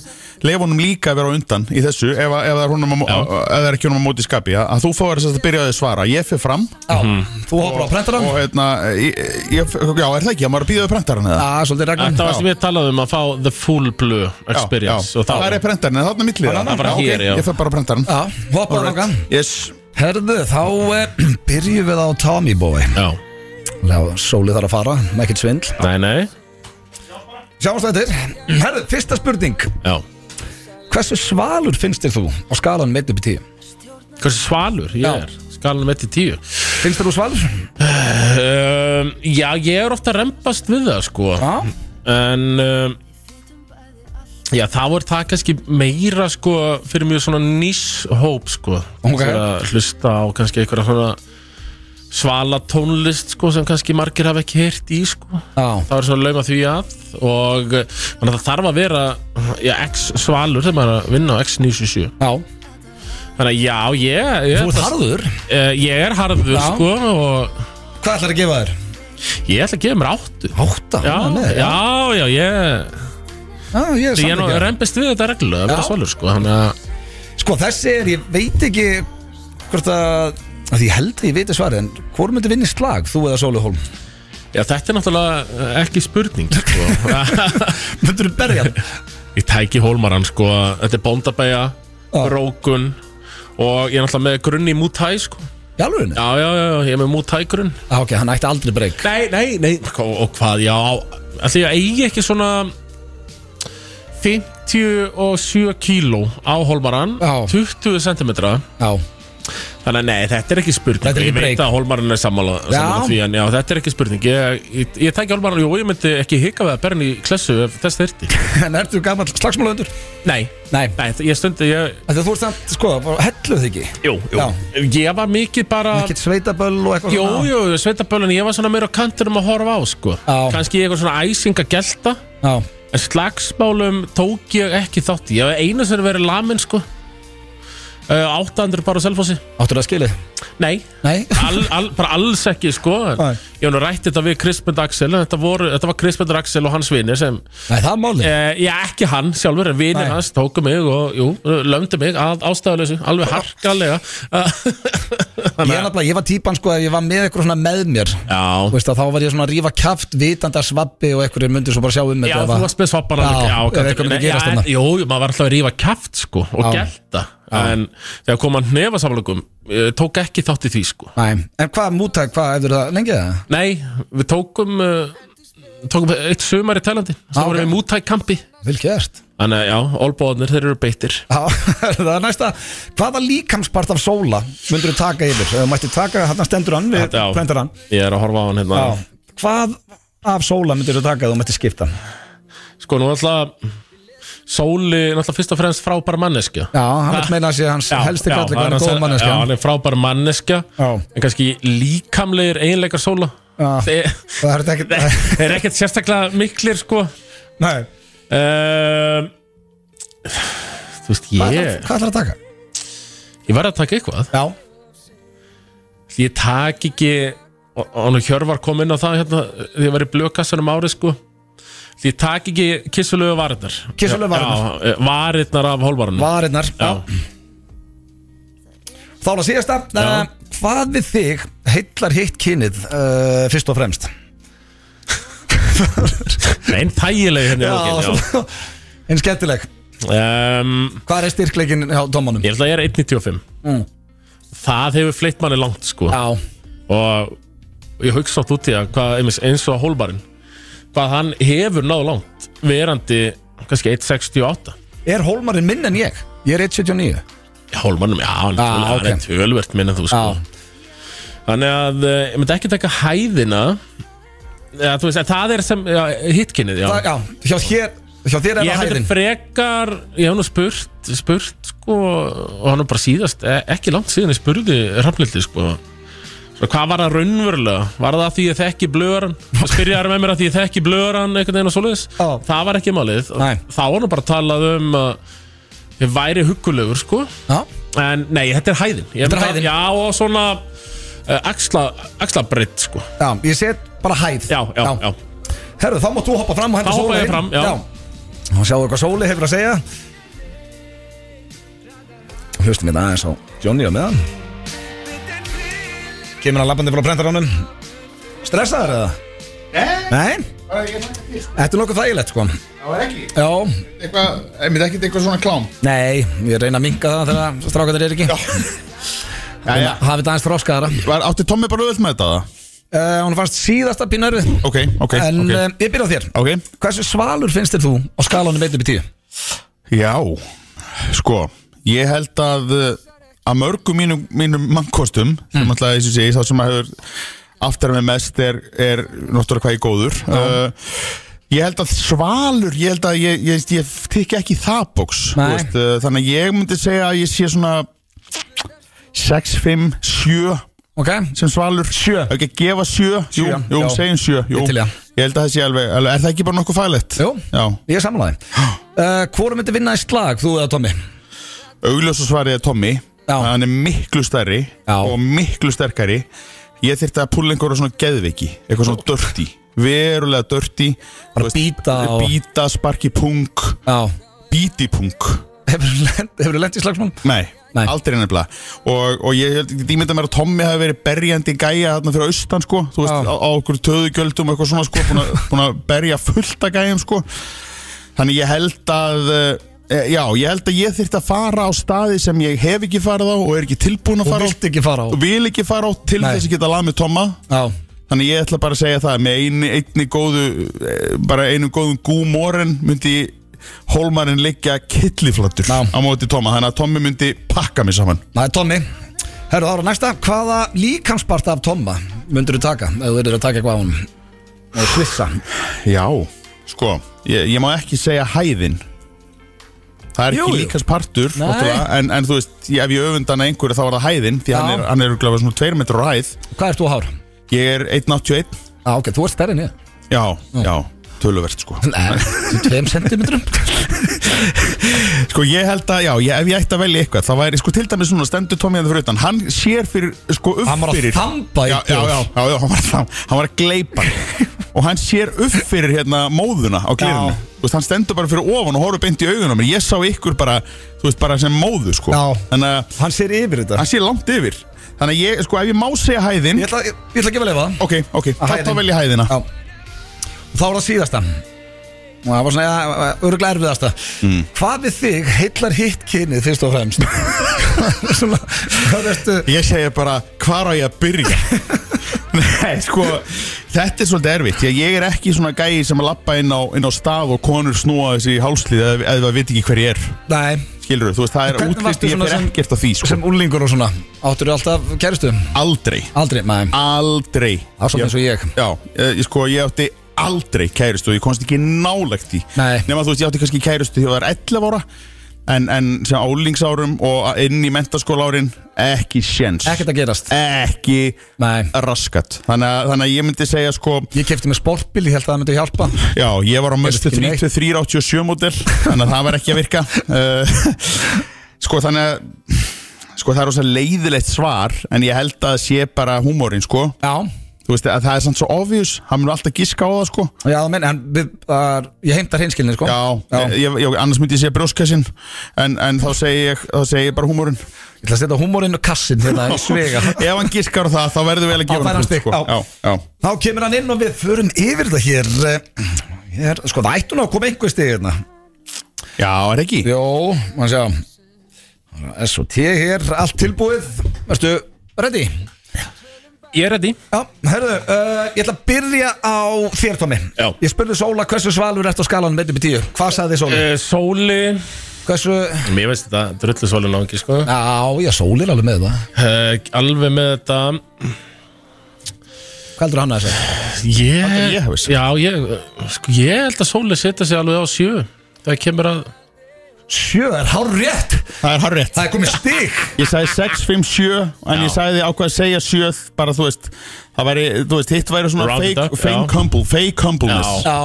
leifa honum líka að vera á undan í þessu ef, að- ef, það, er honum, að-
Já.
ef það er ekki honum að móti skapi að, að þú fáir þess að byrja að svara Ég fyrir fram
Já,
Mhm.
þú hoppar á prentarann
og hérna ég, ég, Já, er það ekki? Ég maður að býða við prentarinn eða?
Já, svolítið reglan
Þetta var sem ég talaði um að fá the full blue experience og þá
Það er prentarinn, en þarna millið
Það er
bara hér, já.
Ég fyrir bara prentarinn
Já, hoppar á reglan
Yes
Herðu, þá eh, byrjum við á Tommy Boy
Já,
Já, sólið þarf að fara, ekkert svindl
nei, nei
Sjáumst þetta Herðu, fyrsta spurning
Já,
Hversu svalur finnst þér þú á skalan meitt upp í tíu?
hversu svalur ég
Já.
er Skalanum 1 til 10
Finnst þér þú svalur?
um, Já, ég er ofta að rempast við það sko
Já
En um, Já, þá er það kannski meira sko fyrir mjög svona nýs hóp sko
Ok.
Þess að hlusta á kannski einhverja svona svala tónlist sko sem kannski margir hafa ekki heyrt í sko
Já,
þá er svona lauma því að og eh, þannig að það þarf að vera já, X svalur sem er að vinna á X97
já
þannig að já, ég, ég,
Þú ert harður
Eh, ég er harður
Já.
sko og
Hvað ætlar að gefa þér?
ég ætla að gefa mér áttu
Átta
Já,
ánægð með þig,
já, já, ég,
já, ég er
ég er nú
samþykkja.
reymbist við þetta reglulega að vera
Já.
svalur sko, þannig að
Sko þessi er, ég veit ekki hvort að, að því ég held að ég veit að svari en hvort myndi vinni slag, þú eða Sóli Holm?
Já, þetta er náttúrulega eh, ekki spurning sko.
Myndur þú berja hann?
Ég tæki hólmaran sko. Þetta er bóndabæja,
Já.
brókun Og ég er náttúrulega með grunn í mútæ sko.
Í alvörunni?
Já, já, já, ég er með mútæ grunn
Já, ok, hann ætti aldrei breyk
Nei, nei, nei Og, og hvað, já Þegar ég eigi ekki svona 57 kíló á hólmaran
Já.
20 cm
Já,
Þannig að nei, þetta er ekki spurning
Þetta er ekki
Ég
break.
veit að hólmaran er sammála,
Já.
sammála því En já, þetta er ekki spurning Ég, ég, ég tæki hólmaran, jú, ég myndi ekki hika við að berja hann í klessu Ef þess þyrti
en ertu gammal slagsmálöndur?
Nei,
Nei,
nei, ég stundi ég,
þegar þú ert samt, sko, bara helluð þig ekki
Jú, jú
Já.
Ég var mikið bara
Ekkert sveitaböll og eitthvað
Jú, jú, sveitaböllin, ég var svona meira á kantinum að horfa á sko
Já.
Kannski eitthvað svona æsing að gelta
Já,
En slagsmálum tók ég ekki þátt í Ég hef einu sem verið lamin sko uh, 800 bara á selfossi
áttur það skilið?
Nei,
Nei
all, all, bara alls ekki sko En
Nei.
Ég hef nú rætt þetta við Krispund Axel en þetta, voru, þetta var Krispund Axel og hans vinir sem
Nei, það er málið
uh, Já, ekki hann sjálfur, en vinir
Nei.
hans tóku mig og jú, lömdu mig að ástæðuleysu Alveg harkalega
Ég, er nafnilega, ég var típan, sko, ef ég var með eitthvað svona með mér
Já,
Þú veist að þá var ég svona að rífa kjaft vitanda svabbi og einhverjir myndir svo bara sjá um
Já,
þetta
þú varst með svabbana
Já,
já
ef eitthvað myndi gerast þarna.
Jú, jú, maður var alltaf að rífa kæft sko og
Já.
gelta En þegar kom hann nefa samlugum tók ekki þátt í því sko
Nei, en hvað mútæk, hvað hefur það lengið það?
Nei, við tókum uh, tókum eitt sumar í Tælandi
Já,
sem vorum
ok.
við mútæk kampi
Vel gert
Þannig að já, olbóðanir þeir eru beittir
Já, það er næsta Hvaða líkamspart af sóla myndur þú taka yfir? Ef þú mætti taka, hann stendur hann, við
Þetta, já.
prentar hann
Ég er að horfa á hann hérna
Já, hvað af sóla myndur þú taka ef þú mætti skipta hann?
Sko, nú alltaf Sóli, er náttúrulega fyrst og fremst frábær manneskja
Já, hann vil meina að sé hans helsti kallik, hann er
hans-
góð
Já,
manneskja
hann er frábær manneskja
Já.
En kannski líkamlegir eiginleikar sóla
Já.
Þeir,
Það er þetta ekkert
Þeir eru ekkert sérstaklega miklir sko
Nei,
um, Þú veist,
hvað
ég
ætlar að taka?
Ég verð að taka eitthvað
Já,
Ég tak ekki Og, og nú Hjörvar kom inn á það hérna Því ég var í blökassanum árið sko Ég tak ekki kissulegu varirnar
Kissulegu varirnar.
Já, já, Varirnar af hólvarunum
varirnar Já.
Já,
Þá er það síðasta
Já.
uh, Hvað við þig heillar hitt kynið uh, fyrst og fremst?
neinn þægilegi henni hérna já,
já. En skemmtileg
já. Um,
Hvað er styrkleikin hjá tómanum?
Ég held að ég er 1.95
Mm.
Það hefur fleitt manni langt sko
Já,
og ég hugsa átt út í að hvað, einmitt eins og hólbarinn hvað hann hefur náð langt verandi kannski 1.68
er hólmarinn minn en ég? Ég er 179
Já, hólbarnum, já, hann,
Já,
ah, hann
ok.
er tölvert minna þú sko þannig að eh, ég myndi ekki taka hæðina Já, þú veist, en það er sem já, hittkynnið, já.
Það, já, hjá, hér, hjá þér er
Ég
það
hefði
hæðin
frekar, ég hef nú spurt, spurt sko, og hann er bara síðast, e- ekki langt síðan ég spurði Rafnildi sko, Hvað var það raunverulega? Var það af því ég þekki blöðurann? Okay. Spyrjaði með mér af því ég þekki blöðurann einhvern veginn og svoleiðis?
Já.
Það var ekki málið.
Nei.
Þá var nú bara talað um að ég væri huggulegur, sko.
Já,
En nei, þetta er hæðin. Ég
Þetta er
myndi að-
hæðin.
Já, og svona uh, axla, axlabritt, sko.
já, ég set bara hæð
Já, já, já.
Herru, þá mátt þú hoppa fram og henda
Þá hoppa
Sólu
ég
inn.
fram, já.
Og sjáðu hvað Sóli hefur að segja Hlustum við aðeins á Johnny á meðan Kemur hann lappandi frá brendaránum Stressaður eða?
Eh?
Nei,
Bara ég mætti fyrst.
þetta er nokkuð þægilegt sko
Það var ekki
Já,
Eitthvað, einmitt ekkert eitthvað svona klám
nei, ég reyna að minka það þegar strákanir er ekki
Jæja.
Hafið aðeins þroskaðara
Var, átti Tommi bara auðvöld með þetta? eða?
uh, Hún fannst síðasta pínu erfið
Ok, ok,
En
ok,
okay. ég byrja á þér
ok
Hversu svalur finnst þér þú á skalanum 1 upp í 10?
Já, sko Ég held að uh, að mörgum mínum, mínum mannkostum sem
Mm.
alltaf þessi segi, þá sem að hefur aftar með mest er, er náttúrulega hvað ég er góður uh, Ég held að svalur, ég held að ég, ég, ég, ég tykki ekki í það bóks þú
Nei.
veist, uh, Þannig að ég myndi segja að ég sé svona 6, 5, 7
Ok,
sem svalur Sjö Ekki að gefa sjö Jú,
Sjö,
jú
já.
segjum sjö jú.
Ég til í það.
Ég held að það sé alveg, alveg Er það ekki bara nokkuð faglegt?
Jú.
Já
ég er samanlæði uh, Hvor myndi vinna í slag, þú eða Tommy?
Augljósa svarið er Tommy
Já.
Hann er miklu stærri
Já.
Og miklu sterkari Ég þyrfti að púla einhverja svona geðviki Eitthvað svona dörti Verulega dörti
Bara bíta og-
Bíta, sparki pung
Já
Bíti pung
Hefurðu lent, hefur lent í slagsmál?
Nei,
Nei.
aldrei nefnilega og, og ég, held- ég myndi að mér að Tommy hafi verið berjandi gæja þarna fyrir austan sko Þú veist,
Já.
á, á okkur töðugjöldum og eitthvað svona sko búin að- Búin að berja fullt að gæjum sko Þannig ég held að eh, Já, ég held að ég þyrfti að fara á staði sem ég hef ekki farið á og er ekki tilbúin að
Þú
fara á
vilt ekki fara á
og vil ekki fara á til
Nei.
þess að geta lað með Tomma
Já,
Þannig ég ætla bara að segja það með einni, einni góðu eh, bara einum góðum gúmóren myndi hólmarinn liggja killiflattur
Já.
á móti Tomma þannig að Tommi myndi pakka mig saman
það er Tommy Herru, þá er næsta Hvaða líkamsparta af Tomma myndir þú taka? Ef þú erir að taka eitthvað á honum Og kvissa
Já Sko, ég, ég má ekki segja hæðin Það er
Jú,
ekki
jú.
líkast partur
Nei.
náttúrulega, en, en þú veist, ég, ef ég öfund hann að einhverju þá var það hæðin því
Já.
hann er, hann er örugglega svona 2 metrar á hæð
Hvað ert þú að hára?
Ég er 1,81
Já, ok, þú ert stærri en ég
Já, já, töluvert sko
Nei, þú tveim sentimetrum
Sko ég held að, já, ég, ef ég ætti að velja eitthvað þá væri, sko til dæmis núna stendur Tommy hann fyrir utan hann sér fyrir, sko upp
Hann var að
fyrir
þamba í
já, já, já, já, já, hann var að þamba, hann var að gleipa og hann sér upp fyrir hérna móðuna á glirinu,
Já.
þú veist, hann stendur bara fyrir ofan og horfur beint í augunum, mér. ég sá ykkur bara þú veist, bara sem móðu, sko
Já.
þannig að
Hann sér yfir þetta
hann sér langt yfir þannig að ég, sko, ef ég má segja hæðin
Ég ætla, ég, ég ætla ekki að velja það
ok, ok, þá
hæðin.
þá vel ég hæðina
Já Þá er það síðasta Og það var svona öruglega erfiðasta
Mm.
Hvað við þig heillar hitt kynið fyrst og fremst Svona Það ertu
Ég segja bara, hvar á ég að byrja? Nei, sko, þetta er svolítið erfitt Því að ég er ekki svona gæi sem að lappa inn á, inn á stað og konur snúa þessi í hálslið eða eða það veit ekki hver ég er
Nei
Skilur þú veist, það er
Hvernig varstu
útlýst ég
svona
fyrir
sem-
ekkert af því sko.
Sem úlingur og svona Áttur alltaf kæristu
Aldrei,
Aldrei, maður
aldrei
Það er svona eins og ég
Já, eh, ég, sko, ég átti aldrei kærustu og ég komst ekki nálægt því
Nei.
Nema þú veist, ég átti kannski kærustu því að það er 11 ára En, en sem álingsárum og inn í mentaskólárin ekki sjens
Ekkert að gerast
ekki
Nei.
raskat þannig að, þannig að ég myndi segja sko
Ég kefti með sportbíl, ég held að það myndi hjálpa
já, ég var á möstu
ekki neitt.
3-3-87 mótil þannig að það var ekki að virka uh, sko þannig að sko það er rosa leiðilegt svar en ég held að það sé bara húmórin sko
Já
þú veist að það er samt svo obvious hann mun alltaf giska á það sko
Já, það menn, en við, uh, ég heimtar hinskilni, sko
já,
Já.
Ég, ég, ég- annars myndi ég segja brjóskassin en, en þá segi ég, þá segi ég bara húmórin
Ég ætla að setja húmórinn og kassin hérna í svega
ef hann giskar á það þá verður við
Þá
eiginlega að gefa
fær hann
punkt,
stig,
sko.
já.
já, já.
Þá kemur hann inn og við förum yfir það hér eh, hér, sko það ætti nú að koma einhver stig hérna
já, er ekki
Jó, mann sjá S&T hér, allt tilbúið Verstu, ready?
Ég er ready.
Já, herðu, uh, ég ætla að byrja á þér Tommi
Já.
Ég spurði Sóla hversu svalur ertu á skalanum 1 upp í 10 Hvað sagði þið Sóla?
Uh, sóli,
Hversu,
mér veist þetta, drullu sóli langi, sko.
já, já, Sóla er alveg með það
Uh, alveg með þetta.
Hvað heldur hann að þessu?
Ég,
Þetta er ég, veist.
já, ég, sko, ég held að sóli setja sig alveg á sjö. Það kemur að
sjö er hár rétt
Það er harrið
Það er komið stig
Ég sagði 6, 5, 7 En ég sagði ákvað að segja 7 Bara þú veist Það væri, þú veist, hitt væri svona
Round it
fake,
up,
fake
já.
humble Fake humbleness
Já,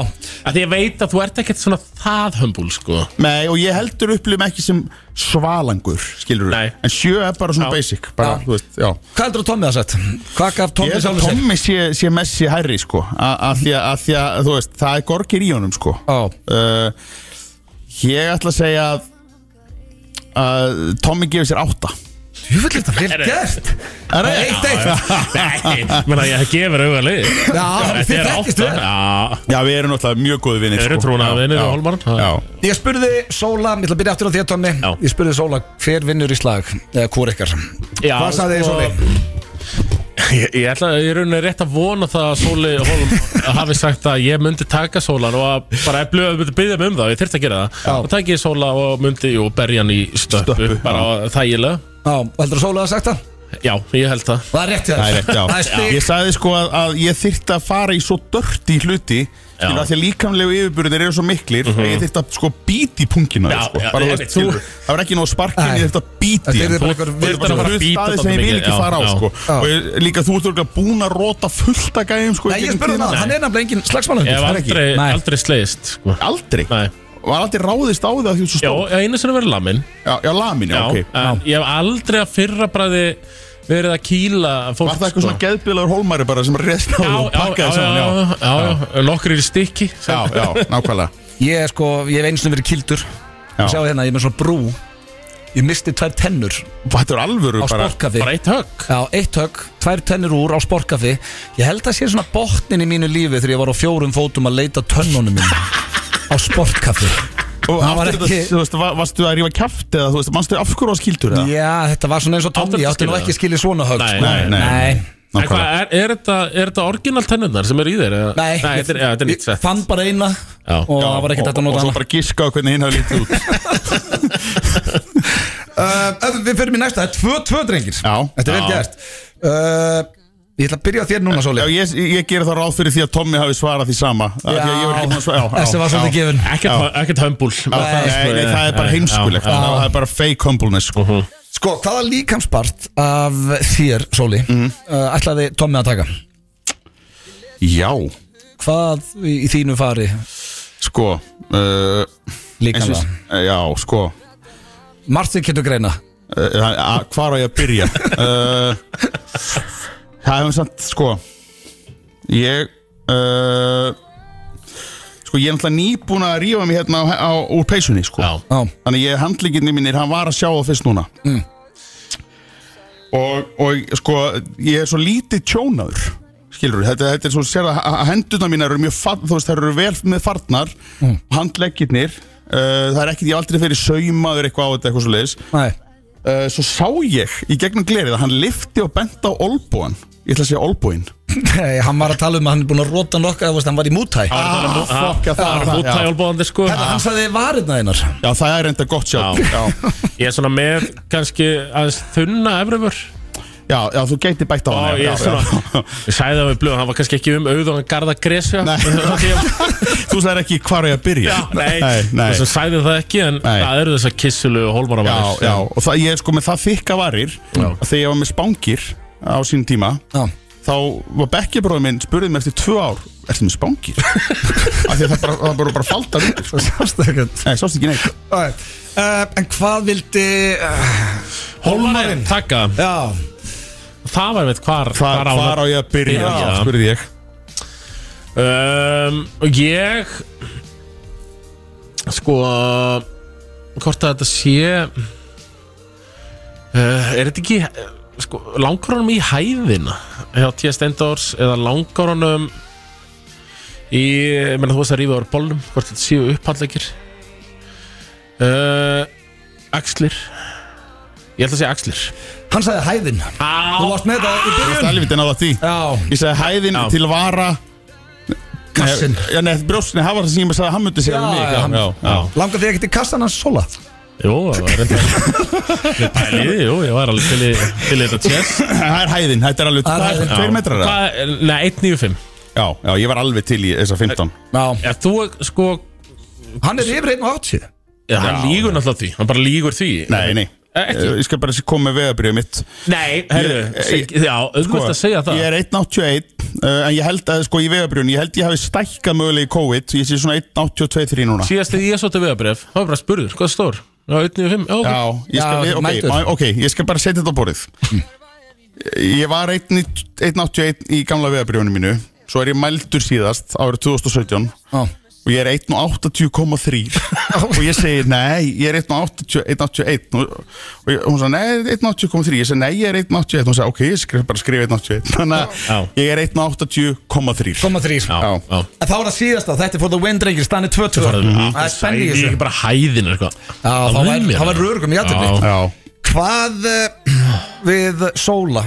Að því ég veit að þú ert ekkert svona það hömbul sko
Nei, og ég heldur upplifum ekki sem svalangur Skilur
Nei.
En 7 er bara svona
Já.
basic Bara,
Já.
þú veist, já
hvað heldur að Tommi það sett? Hvað gaf
Ég
Tommi
held að
sjálfur sér?
Tommy sé, sé Messi hærri sko a- Af því að, að, því að, þú veist, það er gorgir í honum sko
Já.
uh, Ég ætla að segja að, að Tommy gefur sér átta
Júfell, þetta er vel
Herru.
gert Það er eitt eitt
Nei, menn að ég gefur auga lið
Já, þið þekkist vel.
Já,
Já, við erum náttúrulega mjög góði vinir sko.
Þeir eru trúnaðarvinir og Hólmar.
Já,
Ég spurði Sóla, ég ætla að byrja aftur á því að Tommi
Já.
Ég spurði Sóla, hver vinnur í slag? Eða hvor ykkar?
Já,
Hvað sagði þið
sko-
Sóli?
Ég, ég ætla ég er rauninni rétt að vona það að Sóli Holm hafi sagt að ég myndi taka Sólan og að bara ef blöðu myndi byggja mig um það, ég þyrfti að gera það
Já.
og taki ég Sóla og myndi og berja hann í stöppu,
Stöppu,
bara þægilega
Já, heldur að Sóla hafi sagt það?
Já, ég held það
Það er rétt hjá þér.
það er rétt, já
Það er stig
Ég sagði sko að, að ég þyrfti að fara í svo dört í hluti Skilur
Já.
að því að líkamlegu yfirburðir eru svo miklir að Ég þyrfti að sko bíti í pungina
Já,
sko.
já,
Bara, þú
ég
veist,
veit, þú-
skilurðu, Það var ekki nóg sparkin,
Nei.
ég þyrfti að bíti
Þetta
í hann.
yrði bara einhver-
Þú-
Þetta er bara
bara
að bíta
staði sem
dálítið
ég vil
mikið,
ekki
já,
fara á
já.
sko.
Já.
og ég- líka þú ert örugglega búin að rota fullt að gæjum sko, í
Nei, ég
gegnum
spurði um
tíðina.
hann, hann er nefnilega engin
Ég hef
slagsmálahundur
aldrei,
Nei.
aldrei slegist sko.
aldrei
Nei.
var aldrei ráðist á það því þú ert svo
Já,
stór
ég hef einu sinni verið lamin
já, já lamin, já,
Já,
ok
en Ég hef aldrei að fyrra bræði verið að kýla fólk sko.
var það eitthvað svona geðbilaður hólmæri bara sem rest á
Já,
það og
já, já,
pakkaði saman
já,
já,
já, já, nokkrir í stykki
já, já, nákvæmlega
Ég er sko, ég hef einu sinni verið kildur
Já.
Ég sjáði hérna, ég er með svona brú Ég misti tvær tennur á
þetta er alvöru bara
sporkafi
bara eitt högg
Já, eitt högg, tvær tennur úr á sporkafi Ég held að sé svona botnin í mínu lífi Þegar ég var á fjórum fótum að leita tönnunum minn Á sporkafi
og
Það var
aftur þetta,
ekki-
þú veist, va- varstu að rífa kjaft eða þú veist, mannstu af hverju á skildur eða
Já, þetta var svona eins og Tommy Ég átti nú ekki skilið svona högg
Nei,
sko.
nei, nei.
En hvað,
nákvæmlega
er, er þetta, er þetta orginal tennurnar sem eru í þeir? eða?
Nei,
Nei þetta er, ja, þetta er
ég-
nýtt sett
ég fann bara eina
Já.
og það var ekkert
og,
hægt að
og, og
nota
svo
hana
bara giska á hvernig hinn hafi lítið út
uh, ef Við förum í næsta, það er 2-2 drengir
Já.
Þetta er vel
Já.
gert uh, Ég ætla að byrja á þér núna, Sóli
já, ég, ég gera það ráð fyrir því að Tommi hafi svarað því sama já, því að ég var ekki búin að svara já, já,
Þessi var
já.
svolítið gefin
Ekkert, ekkert hömbul
Já, það er sko- Nei, nei, það er bara heimskulegt það er bara fake humbleness sko.
Sko, hvaða líkamspart af þér, Sóli
Mhm.
uh, ætlaði Tommi að taka?
já,
Hvað í, í þínu fari
sko uh, eins og,
líkamlega?
já, sko uh,
Martin getur greina
uh, hvar á ég að byrja uh, það hefum samt, sko ég uh, sko, ég er náttúrulega nýbúin að rífa mig hérna á, á, úr peysunni, sko
Já.
Já,
Þannig ég handlinginni mínir, hann var að sjá það fyrst núna
Mm.
og, og sko, ég er svo lítið tjónaður Skilur, þetta, þetta er svo sér að að hendurnar mínar eru mjög farn, þú veist, þær eru vel með farnar mm. handleggirnir uh, það er ekkert, ég hef aldrei fyrir saumaður eitthvað á þetta eitthvað svo leiðis
nei
uh, svo sá ég í gegnum glerið að hann lifti og benti á olbúan ég ætla að segja olbúin
Nei, hann var að tala um að hann er búin að rota nokka þú veist, hann var í mútæ
Ah, fuck, já, það
Það
var
er
það, já.
mútæjálbóðandi sko
Hérna, hann sagði varirna einar
Já, það er enda gott sjá
Já.
Já,
Ég er svona með kannski aðeins þunna efröfur
já, já þú gæti bætt á
Já,
hann
ég er svona Ég sagði það við blöðum, hann var kannski ekki um auð og hann garða gresja
Nei.
Nei
Þú sagðir ekki hvar á ég að byrja
Já, nei,
nei.
Þess að sagði það ekki en
Nei.
það eru þessar kissulu og hólmara
Já, já, og það, ég er sko með það þykka varir að Þegar ég var með spángir á sínum tíma
Já,
Þá var bekkjabróður minn spurðið mér eftir tvö ár Ertu með spángir? Af því að það bara, það bara, bara faldar út sko.
það sást ekkert
Nei, sást ekki neitt
uh, En hvað vildi uh,
Hólmarinn, takka
Já,
Það var veit hvar
Hvar, hvar á ég að byrja?
Já.
spurði ég
Um, og ég Sko Hvort að þetta sé uh, Er þetta ekki uh, sko, Langar honum í hæðina Hjá T.S. Steindors Eða langar honum Í, ég meina þú veist að rífa úr bollum Hvort þetta séu upphandleikir uh, Axlir Ég ætla að segja axlir
hann sagði hæðin Þú
Á,
varst með þetta í byrjun
Stælviti náða því
Já,
Ég sagði hæðin
Já.
til vara
kassin
Nei, Já, nei, brjóstinni, það var það sem ég með sagði að hann myndi segja um mig
Já, hann-
já.
Langar þig ekkert í kassan hans sola?
jú, það var reynda Við pæliði, jú, ég var alveg til í, til í þetta tjess
Það er hæðin, þetta er alveg
Það er
Það
hæðin.
er tveir metrar eða?
Hvað, nei, 195
Já, já, ég var alveg til í þessa 15
Já
Já, þú, sko,
Hann er yfir 1.80
Já, hann lígur náttúrulega því, hann bara lígur því
Nei, nei
Eh, ekki.
Ég skal bara koma með veðabrið mitt
Nei, herru,
Ég- sko,
seg- já, auðvitað að segja það
Ég er 1.81 uh, En ég held að sko í vegabrjun Ég held ég hafi stækkað mögulega í COVID Ég sé svona 1.82.3 núna
Síðast þegar ég svolítið veðabref, það var bara spurður, hvað er stór? Já, 1.95, já,
Já,
ok.
ég skal,
Já,
já, okay,
mætur.
ma- ok, ég skal bara setja þetta á borðið Ég var 1.81 í gamla vegabrjónu mínu Svo er ég mældur síðast árið 2017
Já.
Og ég er 1.80,3 Og ég segi, nei, ég er 1.81 Og og ég- hún sagði, nei, 1.80,3 Ég segi, nei, ég er 1.81 Hún sagði, ok, ég skrif bara skrifa 1.81 Þannig
Já.
að ég er 1.80,3
koma þrýr
Já,
Já.
já
En það var það síðasta, þetta er for the win drengir, stannir 2-2
Mhm.
Það Mhm. er spenning í
Ég er
þessu
ekki bara sko. hæðin eitthvað
Já, það var- það var rörugum í athygli.
Já,
Hvað eh, við Sóla?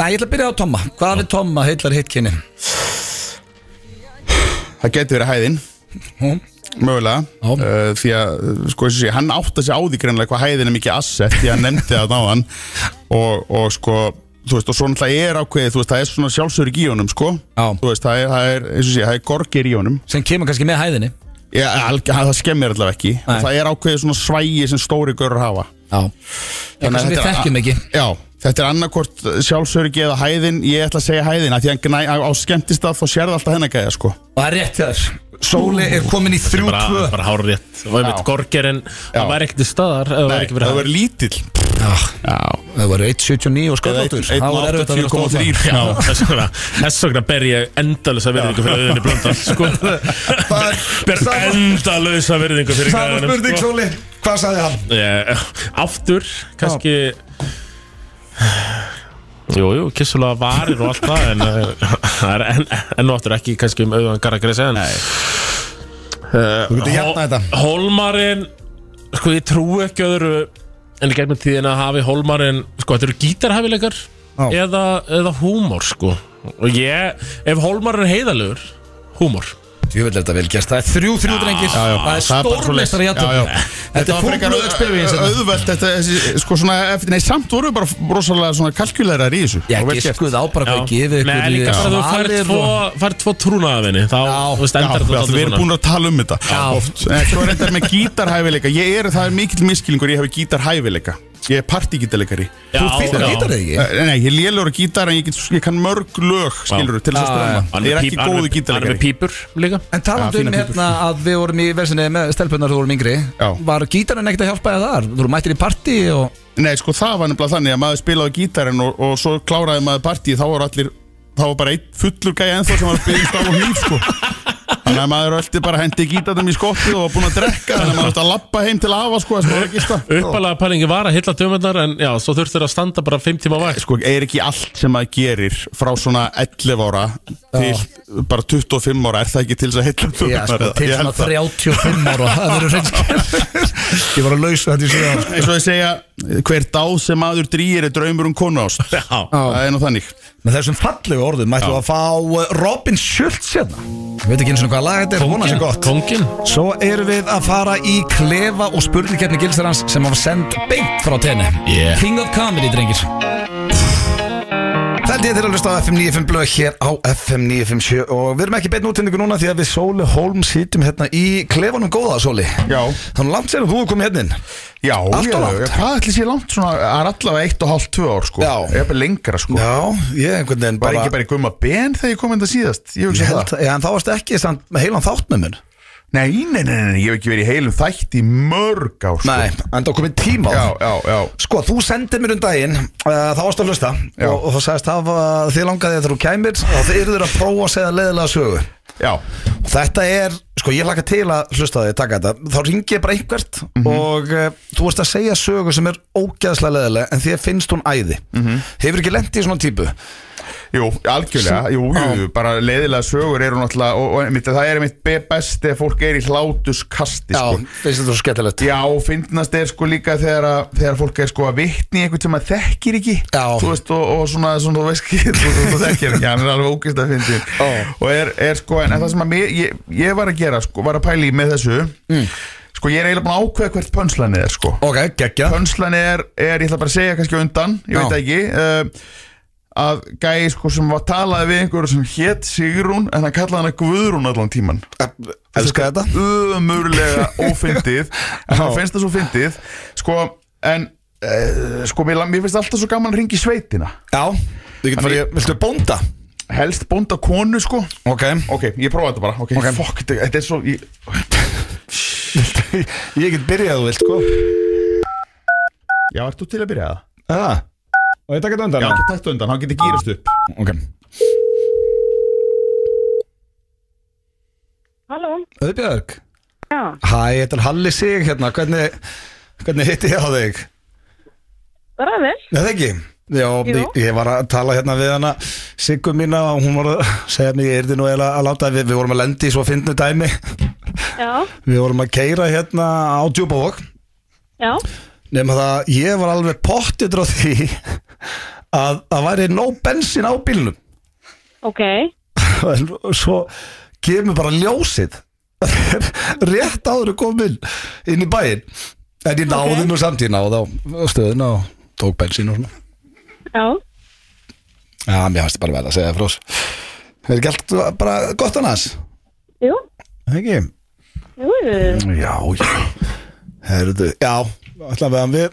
Það, ég ætla að byrja á Tomma Hvað við Tomma heillar hittkynni?
það getur verið hæðin
Hún?
Mögulega,
Já.
uh, því að sko, þessi, sé, hann átta sig á því greinlega hvað hæðin er mikið asset því að hann nefndi það á hann og, og sko, þú veist, og svo náttúrulega er ákveðið, þú veist, það er svona sjálfsörg í honum, sko
Já.
þú veist, það er, það er, eins og sé, það er gorgir í honum
Sem kemur kannski með hæðinni
Já, alg, það skemmir allavega ekki
Nei.
og það er ákveðið svona svægi sem stóri görur hafa
Já Eitthvað sem við
þetta er-
þekkjum ekki
Já, þetta er annarkvort sjálfsörgi eða hæðin, ég ætla að segja hæðin að því að hann græ, á skemmtist að þá sérðu alltaf hennar gæða, sko
Og það er rétt hjá þér Sóli er komin í
bara,
3-2
bara hár rétt Það var einmitt
Já.
gorgerinn,
Já.
það var ekkert í staðar eða Það var
Nei,
ekki
það
verið
verður lítill
Já
Já,
Það var 1.79 og skoðláttur Það var erfitt að vera stóðmann
1.83
Já, þess vegna, þess vegna ber ég endalösa virðingu fyrir auðinni blöndal sko.
Það er-
Ber
sama-
endalösa virðingu fyrir
Sama
gæjanum,
spurning
sko.
Sóli, hvað sagði hann?
Eh, Aftur, kannski Jú, jú, kissulega varir og allt það En eh, það er enn en aftur ekki kannski um auðan garragresi En
Þú getur jafna þetta
Holmarinn Sko ég trú ekki öðru En í gegnum tíðin að hafi Holmarinn Sko þetta eru gítarhafileikar
Já.
eða, eða húmor sko Og ég, ef Holmarinn er heiðalegur Húmor
Ég vil þetta vel gert, það er 3-3 drengir
já,
Það er
það er bara svoleiðis.
stórmeistar í
Já, já.
aðtöfn Þetta er
var frekar
fúklu experience
au-
hérna.
auðvelt þetta, þessi, sko svona, eftir, nei, samt voru við bara rosalega svona kalkjulerar í þessu
Já, sko,
Og vel gert.
giskuð á bara hvað gefið
Nei, líka bara þú fær
svarir
tvo,
og-
fær tvo trúnaðavinni Þá,
Já,
þú veist,
Já,
endar þetta
við við erum búin að tala um þetta
Já.
oft En Svo er þetta með gítarhæfileika Ég er, það er mikill miskilingur, ég hef gítarhæfileika Ég er partígítarleikari
Þú fýttar gítar eða ekki?
Eh, Nei, ég lélur gítar en ég, get, ég kann mörg lög skilur til þess að
Já, já.
ströma Ég er ekki góðu
Hann er með
gítarleikari
pípur líka
En talandu
Já,
um
fínar
hérna að við vorum í versinni með stelpunar þú vorum yngri
Já.
Var gítarinn ekkert að hjálpa þér þar? Þú voru mættir í partí og
Nei, sko það var nefnilega þannig að maður spilaði gítarinn og, og svo kláraði maður partíð þá var allir, þá var bara einn fullur gæja ennþá sem var að spila stál og hníf sko Þannig að maður öldi bara hendi gítarnum í skottið og var búinn að drekka þannig að maður ætti að lappa heim til afa sko sem var að gista
Uppalega pælingi var að hilla dömurnar En já, svo þurftir að standa bara 5 tíma vakt
Sko er ekki allt sem maður gerir frá svona 11 ára til bara 25 ára er það ekki til þess að heilla
Já, sko,
tölunar?
til
Ég
svona
held það.
35 ára og það verður reynskjæður Ég var að lausa þetta í sko. síðan
Eins og ég segja, hver dáð sem maður drýir er draumur um konu ást
Já,
Það er nú þannig
Með þessum fallegu orðum mættum við að fá uh, Robin Schultz hérna Ég veit ekki eins og hvað lag þetta er, vona sér gott
kongin
Svo erum við að fara í klefa og spurningkeppni gilsarans sem hafa sendt beint frá tenni
Yeah.
King of Comedy, drengir Það er til að hlusta á FM 95 blöð hér á FM 957 og við erum ekki beinn útendingu núna því að við Sóli Holm sýtum hérna í klefanum góða, Sóli
Já.
Þannig að langt sér að þú er komið hérna inn
Já,
Allt
já,
of langt.
já, Hvað ætli sé langt svona, það er allavega eitt og hálft, tvö ár sko
Já.
Ég er bara lengra sko
Já, ég einhvern veginn
Var
bara
ekki bara í gumma ben þegar ég kom enda síðast Ég
Ég
hugsa
held,
það
já, en þá varst ekki samt með heilan þátt með mér
Nei, nei, nei, nei, nei, ég hef ekki verið í heilum þætt í mörg ár sko
Nei, en það komið tíma á
Já,
það.
já, já
Sko, þú sendið mér um daginn uh, þá varst að hlusta
Já.
og, og þú sagðist hafa þið langaði þegar þú kæmir og þið yrður að prófa að segja leðilega sögu
Já,
og þetta er, sko, ég hlaka til að hlusta á þig taka þetta, þá ringi ég bara einhvert
Mhm.
og uh, þú varst að segja sögu sem er ógeðslega leðilega en þið finnst hún æði
Mhm.
hefur ekki lent í svona típu
jú, algjörlega, jú, jú, jú bara leiðilega sögur eru náttúrulega og, og einmitt, það er einmitt be- best þegar fólk er í hlátuskasti
já,
sko.
finnst þetta svo skemmtilegt
Já, finnast er sko líka þegar, að, þegar fólk er sko að vitni í einhvern sem að þekkir ekki
Já.
Þú veist, og, og svona, svona, þú veist ekki, þú, þú, þú þekkir ekki, hann er alveg ógist að fyndi Og er, er sko, en, en það sem að mér, ég, ég var að gera, sko, var að pæla í með þessu
Mm.
Sko, ég er eiginlega búin að ákveða hvert pönslan er, sko
ok, geggja
Pönslan er, er, ég ætla bara að segja kannski á undan, ég
Já.
veit það ekki uh, að gæi sko sem var talaði við einhverju sem hétt Sigrún en hann kallaði hana Guðrún allan tíman
Elskar þetta
ömurlega ófyndið en það finnst það svo fyndið sko, en uh, sko, mér, mér finnst alltaf svo gaman að ringa í sveitina
Já, við getum farið Viltu bónda?
helst bónda konu, sko
Ok
ok, ég prófa þetta bara, ok,
Ok.
fuck, þetta- þetta er svo ég,
Ég get byrjað að þú vilt sko
já, ert þú til að byrja það?
Já Og ég takk að
já,
undan
ekki tættu undan, hann getur gýrast upp
Ok
Halló,
Öðbjörg
já,
Hæ, þetta er Halli Sig hérna Hvernig, hvernig hitti ég á þig?
bara vel.
Nei, það ekki Já,
Jú.
ég, ég var að tala hérna við hana Siggu mína og hún var að segja mér Ég er nú eiginlega að láta við, við vorum að lendi í svo fyndnu dæmi
Já,
Við vorum að keira hérna á djúbavog
já,
Nefnum það, ég var alveg pottið á því að það væri nóg bensin á bílnum
ok,
En svo kemur bara ljósið rétt áður að koma inn inn í bæinn en ég náði
Ok.
nú samt, ég náði á stöðuna og tók bensin og svona
já,
Já, mér fannst bara verið að segja frá þessu Það er ekki allt bara gott annars
jú,
Ekki?
jú, jú.
Já, já Herðu, já, ætla við að við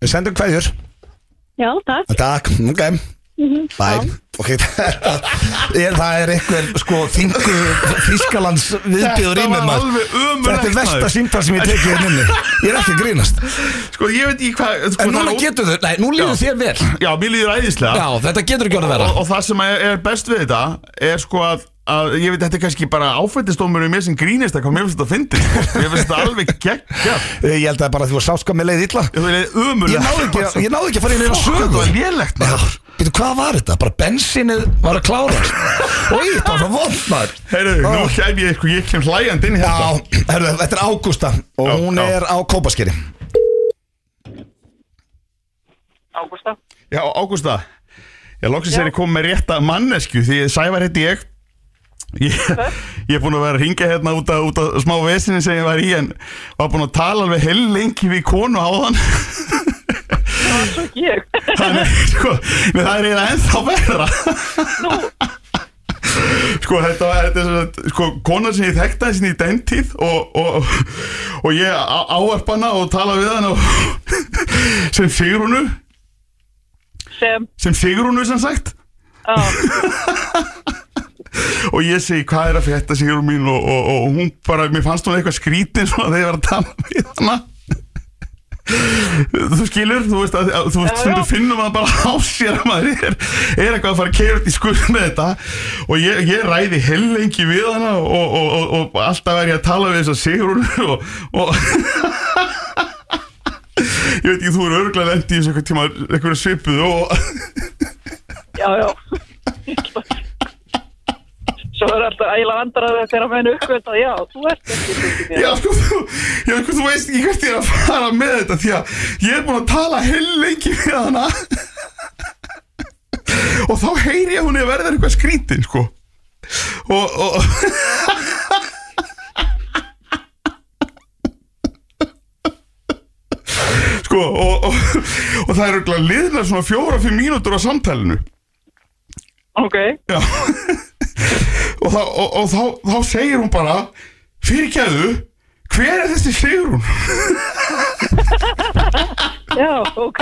við sendum hverjur
já, takk.
Takk, ok
Mhm.
Bæ, ok er, Það er einhver sko þingu Þískalands viðbjöður í mér
var
maður
alveg
Þetta er
ömurlegt
versta
maður.
símtal sem ég tekið inn inni Ég er ekki að grínast
sko, ég veit ekki hvað sko,
En
það
núna
er ó-
getur þau, nei, nú líður
Já.
þér vel
já, mér líður æðislega
Já, þetta getur ekki orðið vera
og, og það sem er, er best við þetta er sko að, að ég veit þetta er kannski bara áfættistómur í mér sem grínist að hvað mér finnst þetta fyndið sko. mér finnst þetta alveg geggja
Eh, Ég held að bara þú var sátt hvað með leið illa
ég veit
Ég
umurlega
náði ekki, að- ég náði ekki að fara í neina
þetta
sögu
var lélegt
Já,
maður
Býtu, hvað var þetta? Bara bensinnið var að klára Og ég, það var svo vond maður
Heyrðu, nú kem ég, sko, ég kem hlæjand inn í
Ah. Já,
þetta
herru, þetta er Ágústa Og
Já,
hún
já.
er á Kópaskeri
Ágústa.
Já, Ágústa Ég loksins
Já.
er ég komið með rétta mannesku Því Sævar heiti ég Ég, ég er búin að vera að ringa hérna út að, út að smá vesinni sem ég var í en var búin að tala alveg heil lengi við konu áðan
Svo ekki ég.
þannig sko, nei, það er eiginlega ennþá verra sko þetta var þetta er sem sagt, sko, konar sem ég þekkti hans í den tíð og, og, og ég á- ávarpa hana og tala við hana og, sem Sigrúnu
Sem,
sem Sigrúnu sem sagt
á,
og ég segi hvað er að frétta Sigrún mín og, og, og hún bara, mér fannst hún eitthvað skrítin svona þegar ég var að tala við hana þú skilur, þú veist að, að þú veist,
Já, já.
stundu finnum að bara á sér að maður er, er eitthvað að fara að keira út í skurð með þetta og ég, ég ræði hellengi við hana og, og, og, og alltaf er ég að tala við þess að Sigrún og, og ég veit ekki, þú eru örgulega lendi í þessu eitthvað tíma, eitthvað svipuð og
já, já. Svo er alltaf ægilega andrarið þegar að menn uppkvöld að já, þú ert ekki fyrir mér.
Já, sko, þú, já, sko, þú veist ekki hvert ég er að fara með þetta því að ég er búin að tala heil lengi við hana og þá heyri ég að hún er að verða eitthvað skrítin, sko og, og sko, og, og, og það eru örugglega liðnar svona fjóra-fimm mínútur á samtalinu
Ok,
Já Og, þá, og, og þá, þá segir hún bara Fyrirgæðu Hver er þessi Sigrún?
já, ok.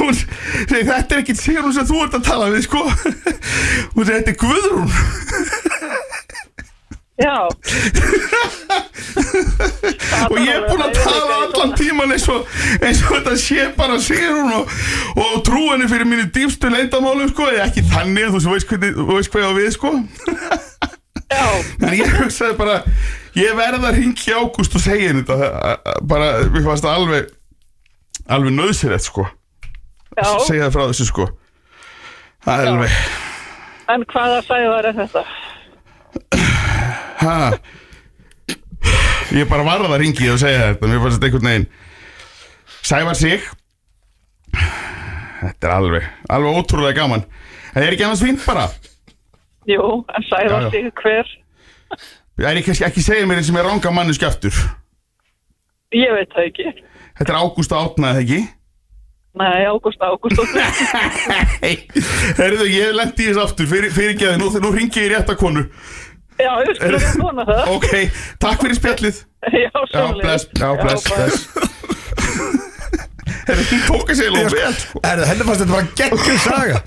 Hún segir þetta er ekkit Sigrún sem þú ert að tala við sko Hún segir þetta er Guðrún
Já.
Og ég er búin að tala allan tíman eins og, eins og þetta sé bara Sigrún og, og trú henni fyrir mínu dýpstu leindamálum sko Eða ekki þannig en þú veist, hvernig, þú veist hvað ég á við sko
Já,
En ég hugsaði bara Ég verð að ringja ágúst og segja henni þetta a- a- Bara, mér fannst það alveg Alveg nöðsirett sko
já.
segja það frá þessu sko Það er alveg
En hvaða sæðar er þetta?
ha. Ég bara varð að ringi og segja þetta Mér fannst þetta einhvern veginn Sævar sig Þetta er alveg Alveg ótrúlega gaman Það er ekki annars fínt bara
Jú,
Já, já.
en sæðar sig hver?
Það er ég kannski ekki segja mér eins sem er ranga mannu skjaftur
Ég veit það ekki.
Þetta er Ágústa Átna eða ekki
Nei, ágúst, ágúst og
Herðu, ég lendi í þess aftur fyrir, fyrir geði, nú, nú ringi ég í rétta konu
Já, ég skulum ég vona það
Ok, takk fyrir spjallið
Já,
Já,
sömuleiðis.
bless, já, bless,
bara-
bless Herðu, hún tóka sér lóð vel sko.
Erðu, henni fannst þetta bara geggjum saga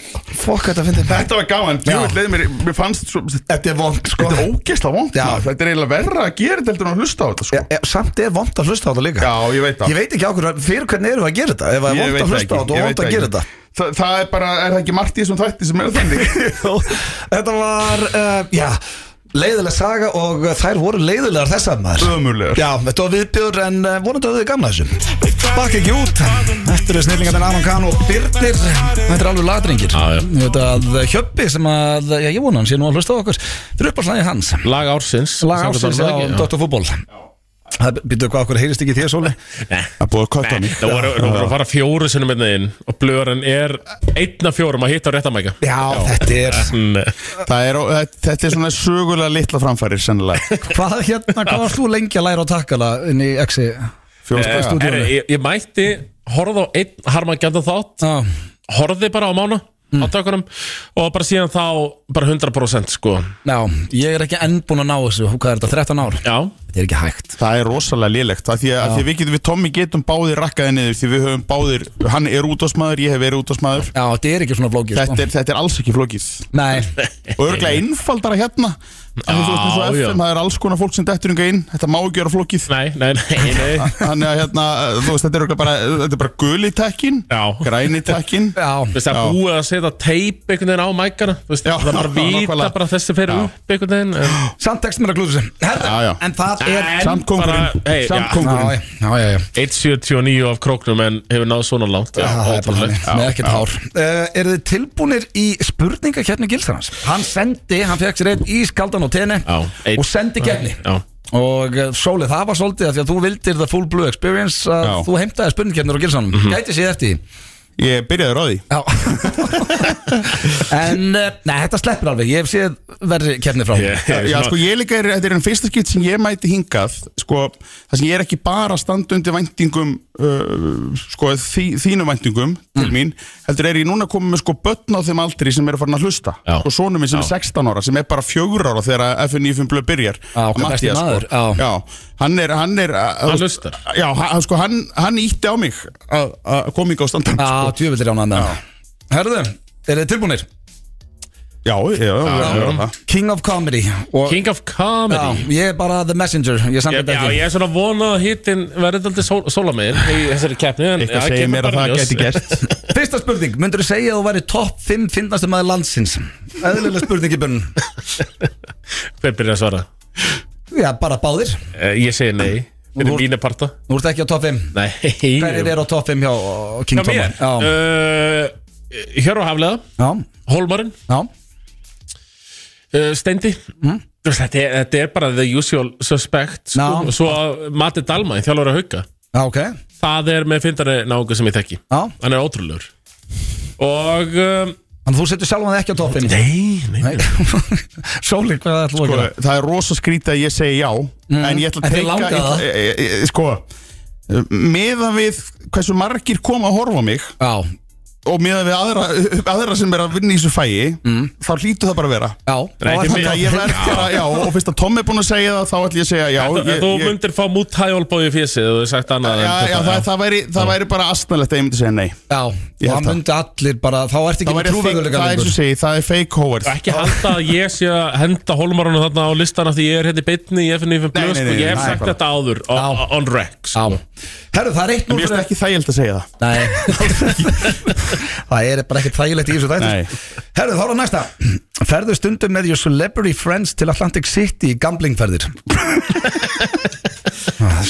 Fokk, þetta finnst þetta
Þetta var gaman,
Já.
djúvill leið mér, mér fannst svo,
Þetta er vond, sko
Þetta er ógeðslega vond
Já.
maður. Þetta er eiginlega verra að gera þetta heldur en að hlusta á þetta sko.
Já, já, Samt er vond að hlusta á þetta líka
Já, ég veit það
Ég veit ekki á hverju, fyrir hvernig erum við að gera þetta Ef það
Ég
er vond
veit
að
það
hlusta á
ekki,
þetta og
ég
vond
veit
að gera þetta
Þa, Það er bara, er það ekki margt í þessum þætti sem er þannig
Jó, Þetta var, uh, já leiðileg saga og þær voru leiðilegar þessar maður
Ömurlegar.
Já, þetta var viðbjör en uh, vonandi að þau gamla þessu Bakk ekki út Þetta eru snillingarnir Aron Kahn og Byrnir Þetta er alveg ladringir
Ah,
Já, já.
Þetta að eh, Hjöppi sem að, já ég vona hann sé nú að hlusta á okkur Þetta er upp á slæði hans
Lag ársins
Lag ársins á
Samkvæmt orðalagi, já.
Dr. Fútbol Það býttu hvað okkur heyrist ekki í þér Sóli
Það búið að kötta
Nei, það voru, það voru að fara fjóru sinnum einna inn og blöðurinn er einn af fjórum að hitta á réttamækja
Já, þetta er
Það er, þetta er svona sögulega litla framfærir sennilega
Hvað hérna, hvað varst þú lengi að læra á takkala inn í exi?
Fjóðstæðstu
stúdíóinu.
Er, Eh, ég, ég mætti horfði á einn harmagjönda þátt
Já,
horfði bara á mánu á tökunum og bara síðan þá bara 100% sko
já, ég er ekki enn búinn að ná þessu Hvað er þetta, 13 ár?
Já,
Þetta er ekki hægt
Það er rosalega lélegt af því að, af því að við, getum, við Tommy getum báðir rakkaði niður því við höfum báðir, hann er útásmaður ég hef verið útásmaður
Já, þetta er ekki sko. svona flókið
þetta, er- þetta er alls ekki flókið
Nei,
og örglega einfaldara hérna af því þú veist eins og
Já, já.
FM, það er alls konar fólk sem dettur yngar inn, þetta má ekki vera flókið
nei, nei, nei, nei.
þannig að hérna, þú veist, þetta er örugglega bara, þetta er bara guli tekkin,
Já.
græni tekkin
Þú
já,
veist, það
Já.
er búið að setja teip einhvern veginn á mækana Þú veist,
Já,
það er bara að vita
nákvæmlega.
bara þessi fer
Já.
upp einhvern veginn en,
samt tekst mér að klúðu sem Herra,
Já, já.
en það er
En
samt
bara,
kóngurinn,
hey,
samt
já,
Já,
kóngurinn.
já, já, já
1.79 af króknum en hefur náð svona langt Já,
Það er bara
ótrúlegt.
þannig, með ekkert hár uh, Er þið tilbúinir í spurninga keppni Gilsarans? Hann sendi, hann fekk sér einn í skaldan og tenni
Já, einn.
Og sendi keppni
Já.
Og eh, Sóli, það var svolítið að því að þú vildir The Full Blue Experience að
Já.
þú heimtaði spurningkeppnir á Gilsanum Gæti séð eftir því
ég byrjaði ráði
Já En, eh, nei, þetta sleppur alveg Ég hef séð verri keppni frá
Ég- ég-
Já,
svona-
sko, ég líka er, þetta er enn fyrsta skipt sem ég mæti hingað, sko, það sem ég er ekki bara að standa undir væntingum, uh, sko, þí, þínu væntingum til mín, heldur er ég núna komið með sko börn á þeim aldri sem eru farin að hlusta,
Já.
sko, sonu minn sem er 16 ára, sem er bara fjögur ára þegar að FNF blöð byrjar,
Já, hvað besti
Matthías, sko.
maður, já.
já, hann er, hann er,
Hann
hann
hlustar.
já, hann, sko, hann, hann ítti á mig að að koma hingað á standan,
Já,
sko,
tjöfildir ánað með hann Herðu, eru þið tilbúinir?
já, já, já, já, já, já.
King of Comedy og,
King of Comedy
Já, ég er bara The Messenger Ég samt
Ég,
þetta
já,
ekki
ég er svona vonað að hittin verði aldrei sól, sólamegin í þessari keppni en
Eitthvað
já,
segir
kemur
mér að
bara
það
ljós.
geti gerst
Fyrsta spurning, myndur þú segja að þú væri topp 5 finnastu maður landsins? Eðlilega spurning í börnum
Hver byrjar að svara?
Já, bara báðir
Eh, Ég segi nei,
Þú-
fyrir mínu parta
Þú ert ekki á topp 5
Nei
Hverjir
Hjá
eru á topp 5 hjá uh, King Tommy?
mér Uh, Hjörvar Hafleða,
Já,
Hólmarinn,
já,
uh, Steindi
Mm.
Þú veist, þetta, er- þetta er bara the usual suspect sko.
Ná.
Svo að Mati Dalma, þjálfur að hauka
já, ok
Það er með fyndari náungu sem ég þekki
Já.
Hann er ótrúlegur Og um,
Þannig að þú setur sjálfan þig ekki á topp 5
Nei, nei, nei.
Sólir, hvað er þú að
sko,
gera?
það er rosa skrítið að ég segi já en ég ætla
Mm. En
að
þið
teika
langaði
ég-
það.
ég- ég- ég- sko meða við hversu margir koma að horfa á mig
Já,
og meða við aðra, aðra sem er að vinna í þessu fæi
Mm.
þá hlýtu það bara að vera
já þá
ekki
er
mig.
þannig
það-
að ég verð bara, já, og fyrst að Tom er búin að segja það þá ætla ég að segja já
Þú-
ég,
Þú
ég,
myndir fá mútæjólbóð í fésið Þú hefði sagt annað
já,
en
já,
þetta,
það, það, væri, það væri bara astnalegt að ég myndi segja nei
Já,
Ég
og það
held það.
myndi allir bara Þá ert ekki
það,
með
væri fake,
trúverðuleika
það er,
lengur
svo segi, það er fake Howard
Ekki halda að ég sé að henda Holmarunum þarna á listan af því ég er hérna í beinni í FNF
Nei,
Plus
nei, nei,
og ég hef
nei,
sagt
bara.
þetta áður on-
Já.
on rec sko.
Já, herru, það er eitt
mér
núl
finnst ekki þægild að segja það
Nei Það er bara ekkert þægilegt í þessu
Nei.
þættis Herðu, þá er það næsta Ferðu stundum með your celebrity friends til Atlantic City í gamblingferðir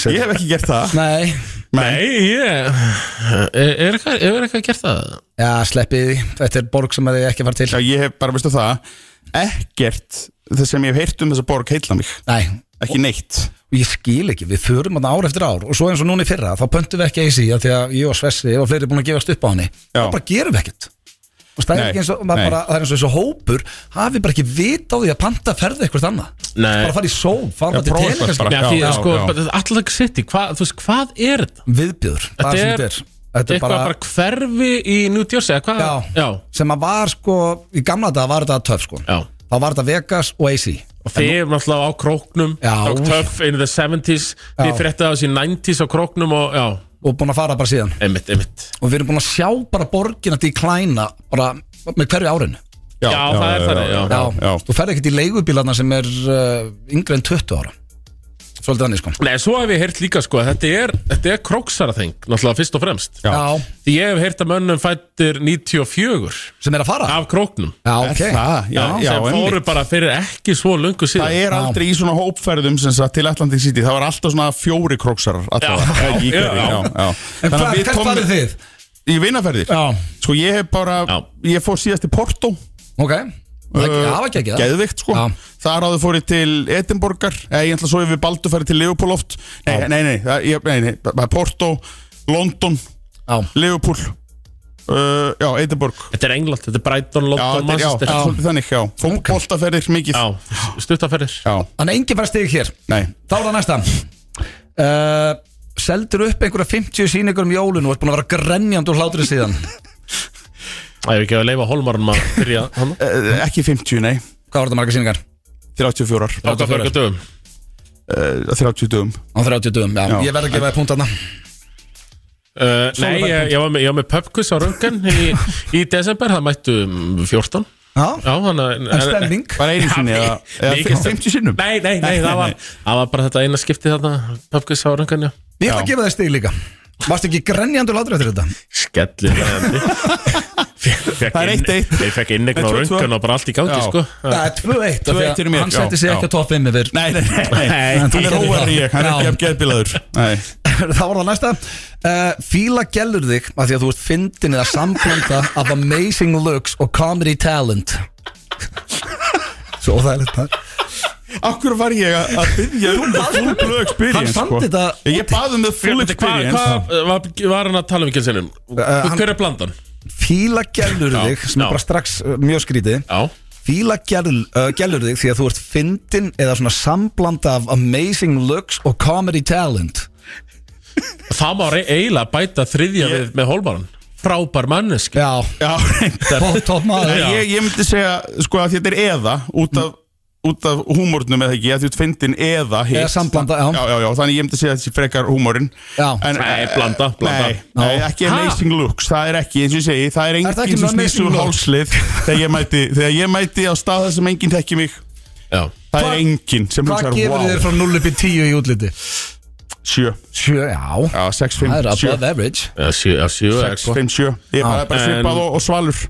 ég hef ekki gert það
Nei,
Nei, ég Er, er eitthvað er eitthvað að gert það?
já, sleppið því Þetta er borg sem að þið ekki fara til
já, ég hef bara, veistu það, ekkert það sem ég hef heyrt um þessa borg heilla mig
Nei,
ekki neitt
og ég skil ekki, við förum hann ár eftir ár og svo eins og núna í fyrra, þá pöntum við ekki eins í því að ég og Svessi og fleiri búin að gefast upp á henni þá bara gerum við ekkert og það er
Nei,
ekki eins og, maður
nei.
bara, það er eins og þessu hópur hafi bara ekki vit á því að panta ferði eitthvað annað,
Nei.
bara fara í sól fara
Já,
bara til
prófa
tenni kannski,
eitthvað bara.
Nei, af því,
já,
sko,
já.
Atlantic City, hvað, þú veist, hvað er þetta?
viðbjöður það er
Þetta
sem
er,
þetta er, Þetta er
Eitthvað bara,
bara-
hverfi í New Jersey eða hvað?
Já.
Já,
sem að var sko, í gamla dag var þetta töf sko
já.
þá var þetta Vegas og AC
Og þið erum náttúrulega á króknum
Já.
Tough in the 70s
Já.
Þið fréttaði á þessi 90s á króknum og já,
og búin að fara bara síðan
einmitt, einmitt
og við erum búin að sjá bara borgina declina bara með hverju árinu
Já, það er þannig, já.
já.
þú ferð ekkert í leigubílarna sem er uh, yngri en 20 ára svolítið þannig sko
Nei, svo hef ég heyrt líka sko að þetta er, þetta er króksaraþeng, náttúrulega fyrst og fremst.
Já.
Því ég hef heyrt að mönnum fættir 94
sem er að fara
af króknum.
já,
Er
ok
það? Já, já,
sem
einmitt.
fóru bara fyrir ekki svo lungu
Það
síðan.
er aldrei í svona hópferðum sem sagt, til Atlantic City, það var alltaf svona fjóri króksarar allavega,
Já.
ekki í hverju,
Já.
já, já.
en
Þannig að
hvað,
við
hvert
Tommi-
farið þið?
Í vinnaferðir
Já.
Sko ég hef bara,
Já.
ég fór síðast til Porto
ok, það
uh,
var ekki ekki það
Geðveikt sko
Já.
Þar áður fór ég til Edinborgar Eða ég ætla svo ef við Baldur færi til Leopold oft Nei, nei, nei, það- ég- nei, nei, bara Porto, London,
já,
Leopold uh, Já, Edinborg
Þetta er England, þetta er Brighton,
Já,
London,
þetta er- já,
Manchester.
þetta er svolítið þannig, já Fólkbóltaferðir mikið
Já, stuttaferðir.
Já,
þannig engin fara stig hér
nei
þá er það næsta uh, seldur upp einhverja 50 síningur um jólun og ert búin að vera grenjandi úr hláturinn síðan
Það er ekki að leifa holmarunum að byrja hann.
Eh, Ekki 50, nei
hvað var þetta marga síningar?
34
Á hvað fyrir dögum?
Eh, 30 dögum
á 30 dögum, já,
Já.
ég verð að gefa þér punkt aðna
Uh, nei, ég, ég var með, ég var með pubquiz á röngan í, í desember, það mættu um, 14.
já,
Já, hann að...
en stemning
Bara einu sinni
Já,
eða,
nei,
eða
ekki-
50 sinnum
Nei, nei, nei, það var, það var bara þetta eina skipti þarna Pöpkis á röngan, já
ég ætla að gefa þér stig líka varst ekki grenjandi úr hláturinn eftir þetta?
Skellir
Það er eitt, eitt.
Ég fekk innegna á
Tvö, tvö.
röngan og bara allt í gangi,
Já.
sko
Það er 2-1
2-1
af því að
fyrir mér,
Hann
já,
setti sig
já.
ekki á topp 5 yfir
Nei, nei, nei,
Nei,
Hann
þú
er
getur
óar
það.
í ég, hann er
Já.
ekki afgeðbilaður Nei,
Það var það næsta uh, Fíla gælur þig af því að þú ert fyndin eða samblanda af amazing looks og comedy talent Svo óþægilegt það
akkur var ég að- að byggja um the full blue experience
Hann samdi
sko.
þetta-
Ég bað um the full
Hvað
experience Uh,
hva, var, var hann að tala um ekki sinnum?
hann-
Hver er blandan?
Fíla gælur
Já,
þig sem
já.
er bara strax uh, mjög skrítið
Já
Fíla gælur, uh, gælur þig því að þú ert fyndin eða svona samblanda af amazing looks og comedy talent
Það má rey- eiginlega bæta þriðja
Ég-
við með holmaran Frábær manneski
Já,
Já, reyndar.
topp top
Nei,
maður
Já.
ég, ég myndi segja sko að þetta er eða út af, út af húmórnum eða ekki, að þú ert fyndin eða hitt.
Eða samblanda, já.
já, já, já, þannig ég myndi segja þessi frekar húmórinn
Já.
Nei, blanda, blanda.
Nei, nei,
Já.
ekki
Ha?
amazing looks, það er ekki, eins og ég segi það er
það
enginn
ekki
sem
með
snýst úr
amazing looks?
hálslið þegar ég mæti, þegar ég mæti á stað þar sem enginn tekki mig
Já
það
Hvað-
er enginn sem
Hvað
hugsar,
gefur þér
wow,
frá 0 upp í 10 í útliti?
sjö
7, já
Já, 6, 5,
Það er eh,
7
above average
Já, sjö, já, sjö er
6,
sko
5, 7 Ég er
Ah.
bara, bara
En-
svipað og, og svalur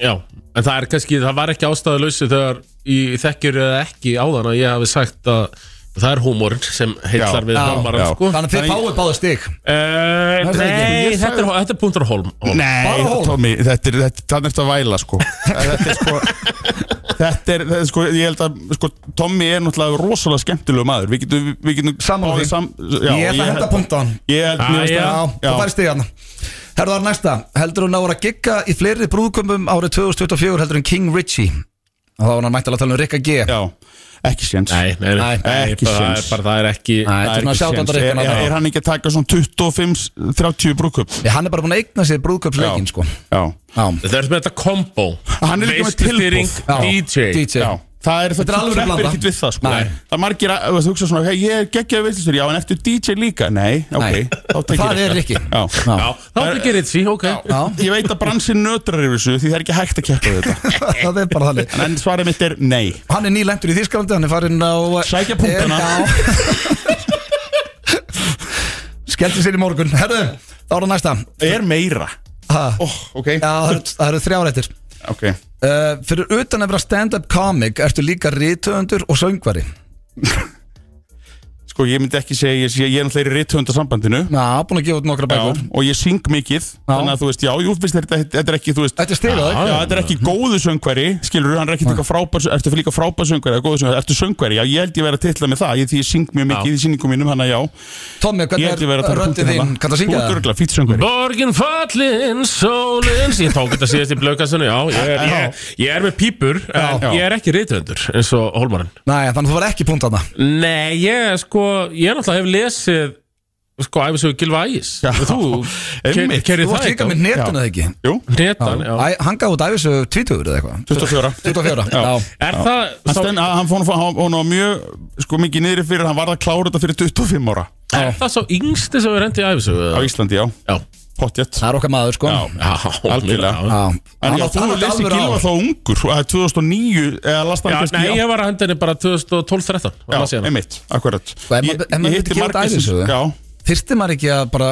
Já, en það er kannski, það var ekki ástæðuleysi þegar í þekkjur eða ekki áðan að ég hafi sagt að það er húmórn sem heillar
Já,
við
já,
hólmaran
já.
sko.
Þannig að þið
Þannig-
fáið báðu stig
Uh,
það er ekki.
nei,
Ég
þetta er, þetta er punktur á hólm,
Bara
hólm.
Nei,
hól.
Tommy, þetta er, þetta, þannig eftir að væla sko Þetta er sko Þetta er, þetta er sko, ég held að sko, Tommy er náttúrulega rosalega skemmtilegu maður Við getum, við getum
Sammála
báðir
því.
já,
Ég ætla að henda punkt á hann
Ég held,
Ah,
mér finnst
já.
Já,
það-
það færi stig hann Herðu þar næsta Heldur hún náður að gigga í fleiri brúðkumum árið 2024 heldur hún King Richie Og þá var hann mættilega að tala um Rikka G
já, ekki séns
Nei, nei, nei,
Nei,
ekki
bara, það er
séns.
bara, það er ekki
Nei.
Það
þetta er svona
er ekki séns.
sjáttándar
Er,
eitthvað
er,
annað.
er hann ekki að taka svona 25-30 brúkup?
Ég, Hann er bara búin að eigna sér brúðkumsleikin sko
Já,
Já,
Það er með þetta kombo
Hann er líka með
Veistlustýring,
já
DJ,
DJ
já Það er,
Þetta er alveg blanda.
ekki við það sko
Nei.
Það er margir að, þú hugsa svona, hei, ég er geggjaði veitlistur Já, en eftir DJ líka? Nei, ok
Nei.
þá tek ég
Það er Rikki
Já.
Já, þá er ekki reynt sí, ok
Já.
Ég veit að bransin nötrar yfir þessu því það er ekki hægt að keppa við þetta
Það er bara þannig
En svarið mitt er nei
Hann er nýlendur í Þískalandi, hann er farinn á
Sækja punktana.
Skeldi sér í morgun Herðu, þá er það næsta
Er meira
Ha.
oh, Ok,
Já, það eru- það eru þrjárættir
ok
Uh, fyrir utan að vera stand-up comic ertu líka rithöfundur og söngvari
Sko ég myndi ekki segja, ég, ég, ég er náttúrulega í rithöndasambandinu
Já, búin að gefa út nokkra
Já,
bækur
og ég syng mikið Þannig að þú veist, já, jú, veist, þetta, þetta, þetta er ekki, þú veist
Þetta er eh? stigað,
Já,
ekki?
þetta er ekki góðu söngveri, skilur hann er ekki eitthvað frábær, ertu líka frábær söngveri eða góðu söngveri, ertu söngveri, já, ég held ég verið að titla með það, ég, því ég syng mjög mikið
Já.
í sýningum mínum, hann að já,
Tommi,
ég held
hvernig
ég verið að
er
taka
röndið
punktinn
þín?
þarna.
Kanntu að
Þú
syngja
ert
það?
örugglega fýtt söngveri.
Borgin fallin, sólin Ég tók þetta síðast í blöðkastunni, já ég er, ég, ég er með pípur, en
Já.
ég er ekki reytvöndur eins og hólmarinn
Nei, þannig að þú var ekki punkt að það
Nei, ég sko, ég náttúrulega hef lesið sko, æfisögu Gilva Ægis
Já.
og þú
Einmitt.
kerri
Þú
það
varst líka með netin eða ekki
Jú,
netan, já,
Æ, Hann gaf út æfisu 20 eða eitthvað
24
24,
Já.
já
Er það,
Hann,
sá,
stenn, hann, fór, hann, hann var mjög sko, mikið niðri fyrir hann varð að klára þetta fyrir 25 ára
er það sá yngsti sem við rendi í æfisögu?
á Íslandi, já,
Já,
pottjett
Það er okkar maður sko
Já,
já,
Algjörlega.
já.
Já.
En
Hann
já,
átti-
þú
hann átti
lesi
alvöru
Gilva
ár.
þá ungur sko, Það er 2009 eða lasta hann
Já,
kannski
nei,
í
ég var að henda henni bara 2012-13
Já,
annars ég hana.
einmitt, akkurat
Sko, ef maður- ef maður myndi gefa út ævisögu?
Já,
Þyrfti maður ekki að bara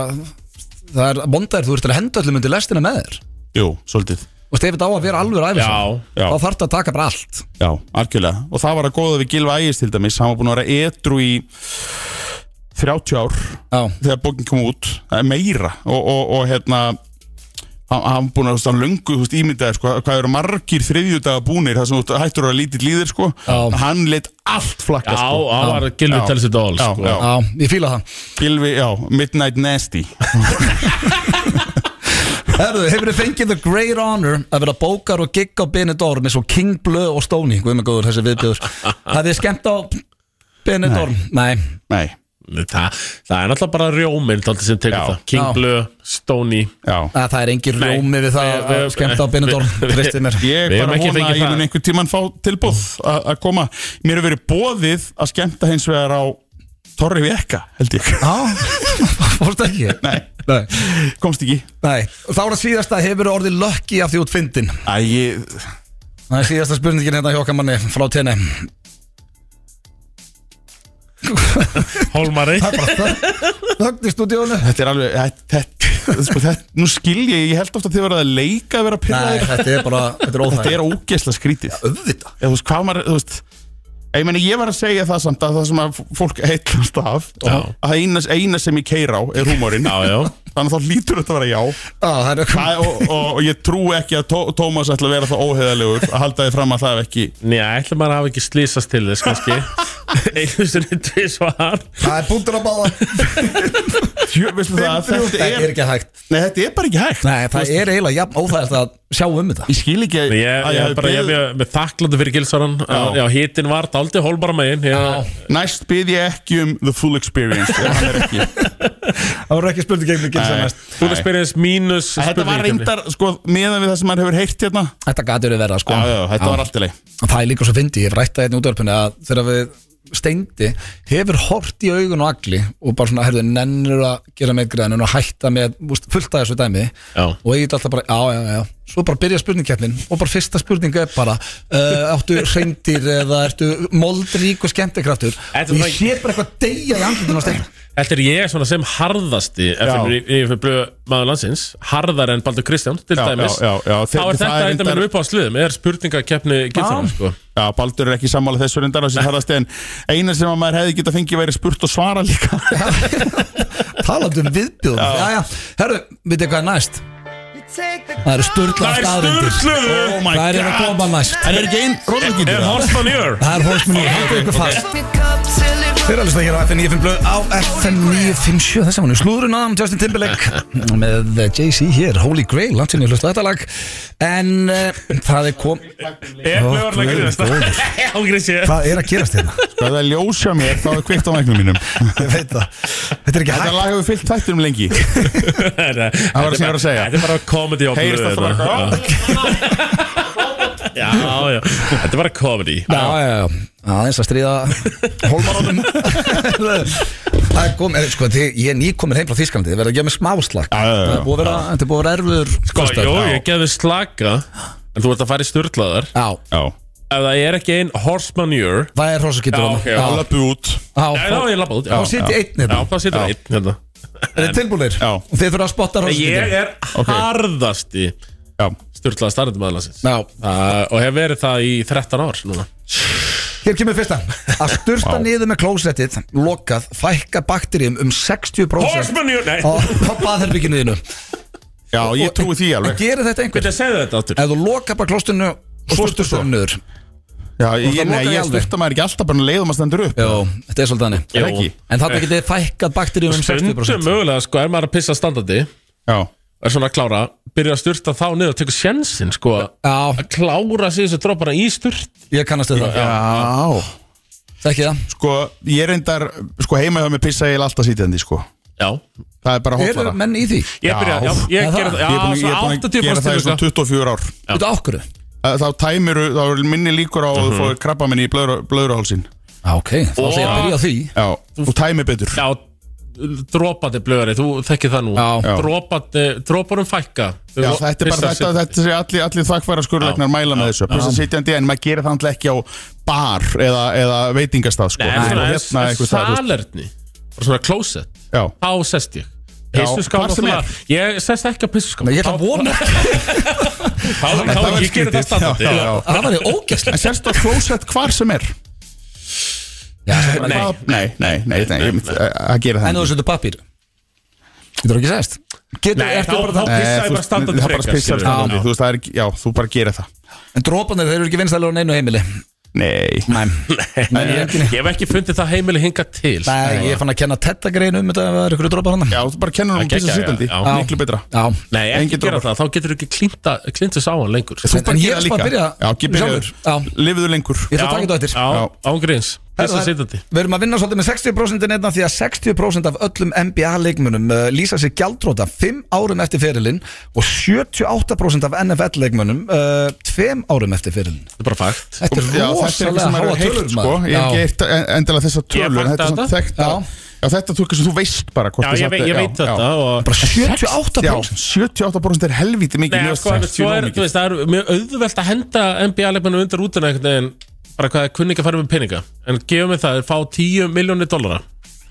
Það er bondar, þú ert að henda öllum undir lestina með þér
jú, svolítið
Og stefið á að vera alveg ræfis
Já,
já.
Þá þarf að taka bara allt
Já, algjörlega Og það var að góða við Gilva Ægis til dæmis Hann var búin að vera edru í 30 ár
Já,
Þegar bókin kom út Það er meira Og, og, og hérna Hann hann var búin að stann löngu þú veist, ímyndaði sko, Hvað eru margir þriðjudaga búnir Það sem þú ert- hættur að lítið líðir sko.
Já.
Hann leitt allt flakka
Já,
sko.
það var Gilvi
Já.
Telsi Dól
Já,
sko.
já.
já, ég fíla það
Gilvi, já, Midnight Nasty
Herðu, hefur þið fengið the great honor að vera bókar og gigg á Benidorm eins og King Blö og Stóni Guð með góður þessi viðbjöður Hafið þið skemmt á Benidorm? Nei,
Nei,
Þa, það er náttúrulega bara rjóminn dálítið sem tekur
Já.
það King
Já.
Blue, Stoney
já
Að það er engin
Nei.
rjómi við það
Við-
að
við-
skemmta á Benidorm
við-
Tristið mér
Ég
Við
bara
höfum
vona
ekki
að
fengið
ég
það.
mun einhvern tíman fá tilbúð að að koma Mér hefur verið bóðið að skemmta hins vegar á Torri Vekka, held ég
Já, fórst ekki
Nei,
Nei.
komst ekki
Nei, og þá er það síðasta hefur orðið lökki af því út fyndin
Æ, ég,
Það er síðasta spurningin hérna hjá okkar manni frá tenni
Hólmari
Þögn í stúdíónu
þetta er alveg þetta, þetta, sko, þetta, Nú skil ég, ég held ofta að þið verða að leika að vera
Nei,
pyrraðir
þetta er bara, þetta er
Þetta
óþæg
er ógesla skrítið
Öðvita
Eða, Þú veist, hvað maður, þú veist Ég, meni, ég var að segja það samt að það sem að fólk heitlast af
Já.
að það eina, eina sem ég keir á er húmórin
Já, já
þannig að þá lítur þetta að vera já
Það er
Æ, og, og, og ég trú ekki að Tó Tómas ætla að vera það óheðalegur að halda þið fram að það hef ekki
Nei, ætla maður að hafa ekki slísast til þess kannski Einu sinni tvisvar
Það er búndur á báða
Jö, veistu það, þetta
Það er
er,
ekki hægt
nei, þetta er bara ekki hægt
Nei, það er eiginlega jafn óþægilegt að sjá um þetta
ég skil ekki að
Ég, ég,
að
ég,
hafi
bara, ég,
beðið-
ég með þakklandi fyrir Gilsaran Já, já hittin var dálítið hólmara megin
Já.
ég,
næst byrð ég ekki um the full experience ef hann er ekki
Það voru ekki spurning gegn mikið
Nei.
Þú er spyrjins mínus
þetta var
spurningakefni.
reyndar, sko, meðan við það sem maður hefur heyrt hérna já,
Þetta gæti verið verða, sko
já, þetta var allt í leið
Og Það er líka svo fyndi, ég hef rætt það hérna útvarpinu að þegar við steindi hefur hort í augun og agli og bara svona, herðu, nennur að gera með græðinu og hætta með, úst, fullt að þessu dæmi
Já.
og ég get alltaf bara, já, já, já svo bara byrja spurningkeppnin og bara fyrsta spurninga er bara uh, áttu reyndir eða ertu moldrík og skemmtikraftur og
Þetta
ég
er það-
sé bara eitthvað deyja í andlutinu á steindi
Þetta er ég svona sem harðasti FNB maður landsins harðar en Baldur Kristján til
Já,
dæmis
já, já, já,
þá
þe-
er
það
þetta
er
þetta
reyndar-
minnum upp á sliðum er spurningakeppni Gilsaran sko.
já, Baldur er ekki sammála þessu reyndar þessi harðast en eina sem að maður hefði geta fengið væri spurt og svara líka
talandi um viðbjóðum já. já, herru, veit hvað er næst það eru sturla
Það er
staðrindir
sturluðu
oh my
það er að
god
koma næst
það er ekki einn róðvíkindur
Er
það?
Horstman Jör
það er hóðsmenni, hættu ykkur fast Þeir eru að hlusta hér á FM 95 blöð á FM 957 Þess að hann er slúðurinn aðan Justin Timberlake með eh, Jay-Z hér Holy Grail, langt sinni hlusta á þetta lag En uh, það er kom
Er
Ó,
mögulega að
guð
grínast
góður.
Já, grínst ég
Hvað er að gerast hérna?
Sko, ef það er ljós hjá mér, þá er kveikt á mæknum mínum
Ég veit það Þetta er ekki
Þetta
hægt
lag hefur fyllt þættinum lengi
Þetta er
var það sem ég var að segja.
bara- Þetta er bara comedy á
Heyrist
blöðu,
það bara,
þetta. Já, já Þetta er bara comedy
Já, já, já Aðeins að stríða Hólmarónum Það er komið, sko, þið, ég er nýkomin heim frá Þísklandi Þið verða að gefa mig smáslag
Já, já, já, já.
Það er búið að vera, þetta er búið að vera erfur
Sko, Jú, ég gefði slaka En þú ert að fara í sturlaðar
Já,
Já,
Ef það er ekki ein Horstman Jör
það er hrósakittur
Já, ok,
það lappu út
Já, þá er ég labbað út
Þá sitt ég einn
Já,
hérna
þá situr einn hérna
Er þið tilbúinir?
Já.
Og Þið þurfa að spotta
Ég
hrósakittur
er harðasti
Já,
Sturlaða starrandi maður landsins
Já.
Uh, Og hef verið það í 13 ár núna
Hér kemur fyrsta Að sturta
Vá.
niður með klósettið Lokað, fækka bakteríum um 60%
Horstman Jör, nei
Á á baðherbygginu þínu
já ég trúi því alveg
Gerir þetta einhvern
Hvernig segðu þetta áttur?
Ef þú lokað bara klóstinu og
Svo
svo sturtar
sturtar svo.
niður
Já, ég,
það
nei,
lokar í
ég
alveg.
styrta maður ekki alltaf bara leiðum að stendur upp
Jó, þetta er svolítið hannig
Er ekki?
En þarna getið þið fækkað bakteríum um
Stundum
60%
mögulega sko, er maður að pissa standandi
Já,
er svona að klára, byrja að sturta þá niður og tekur sjensin sko að
Já,
klára sig þessu droppana í sturt
ég kannast við það
já.
Þekki það
Sko, ég reyndar, sko heima hjá mig pissa ég alltaf sítjandi, sko
Já
Það er bara
Eru
hotlara
menn í því?
Ég byrja, já,
Já,
ég
það.
gerði það
Ég er búin-
Já,
ég er búin að
svo 80
gera það í
fórst
svona 24 ár
Þú veit ákvörðu?
Eh, Þá tæmiru, þá er minni líkur á að þú fóði krabba minni í blöðru- blöðruhálsin
Já, ok, þá ætla ég að byrja á því
Já, þú tæmi betur
Já, dropandi blöðari, þú þekkir það nú
Já. Já.
Dropandi, dropunum fækka
Já, þetta er bara þetta, þetta sé allir, allir þakkværa skurðlegnar mæla með þessu pluss að sitjandi en maður gerir það náttúrulega ekki á bar eða, eða veitingastað sko. Þú fór
Nei, svona, en,
hérna
en
einhvers staðar, þú veist.
salerni Bara svona klósett
Já.
Þá sest ég
Já,
Pissuskáp
hvar sem
náttúrulega- Ég sest ekki á pissuskáp
Nei, Ég ætla að vona ekki
Þá, þá,
Það
þá,
var
ég gerir
skrítið.
það standandi
Já, já, já.
Það var ég
En
ógæslega
sérst á klósett hvar sem er
Nei,
Hvað- Nei, nei, nei, nei, ég- það gerir það
En þú
ekki.
setur pappír Getur ekki sæst Getur,
Nei,
ertu
þá-
bara
þá-
það
Eh,
pissaði
þú
bara
veist,
standandi
það bara
frekar,
pissar
skilur.
standandi
Já.
þú veist, það er ekki- Já, þú bara gerir það
En dropanir, þeir eru ekki vinstælega á neinu heimili
Nei,
Nei, Nei ég, er ekki,
Ég hef ekki fundið það heimili hinga til
Nei, ég fann að kenna Tetta grein um þetta að það er ykkur dropar hann
já, þú bara kennur hún
Það
pissa
gekkja, já,
sitjandi
já.
miklu betra
Já,
Nei, ekki
Engin
gera
dropar.
það, þá getur ekki klínta- klíntus á hann lengur
En-
Bara
en
gera
ég skal
líka.
byrja
Já, ekki
sjálfur. Já,
byrjaður Lifiðu lengur
ég ætla að taka þetta á eftir
Já,
Já.
ángríns, pissa
Herðu,
sitandi
Við erum að vinna svolítið með 60% einna því að 60% af öllum NBA-leikmunum uh, lýsa sér gjaldróta 5 árum eftir ferilinn og 78% af NFL-leikmunum 2 uh, árum eftir ferilinn
Þetta er bara fakt
Þetta er
Já, þetta er eitthvað sem
rosalega
maður
háa
hefur heyrt
tölur
sko.
maður.
Ég hef ekki
Já.
heyrt en- endilega þessa tölur
fatta
Þetta er svona
þetta.
þekkt
Já.
Já, þetta er eitthvað sem þú veist bara hvort
Já,
þú
ég,
satt-
veit, ég
já,
veit
já.
þetta og...
Bara
Já,
78%
78% er helvítið mikið
Nei,
mjög
sko,
sagt,
svo
mjög
er, þú
mikið.
veist, það er mjög auðvelt að henda NBA-leikmennum undir útuna einhvern veginn bara hvað er kunni ekki að fara með peninga en gefum við það, þeir fá 10 miljónir dollara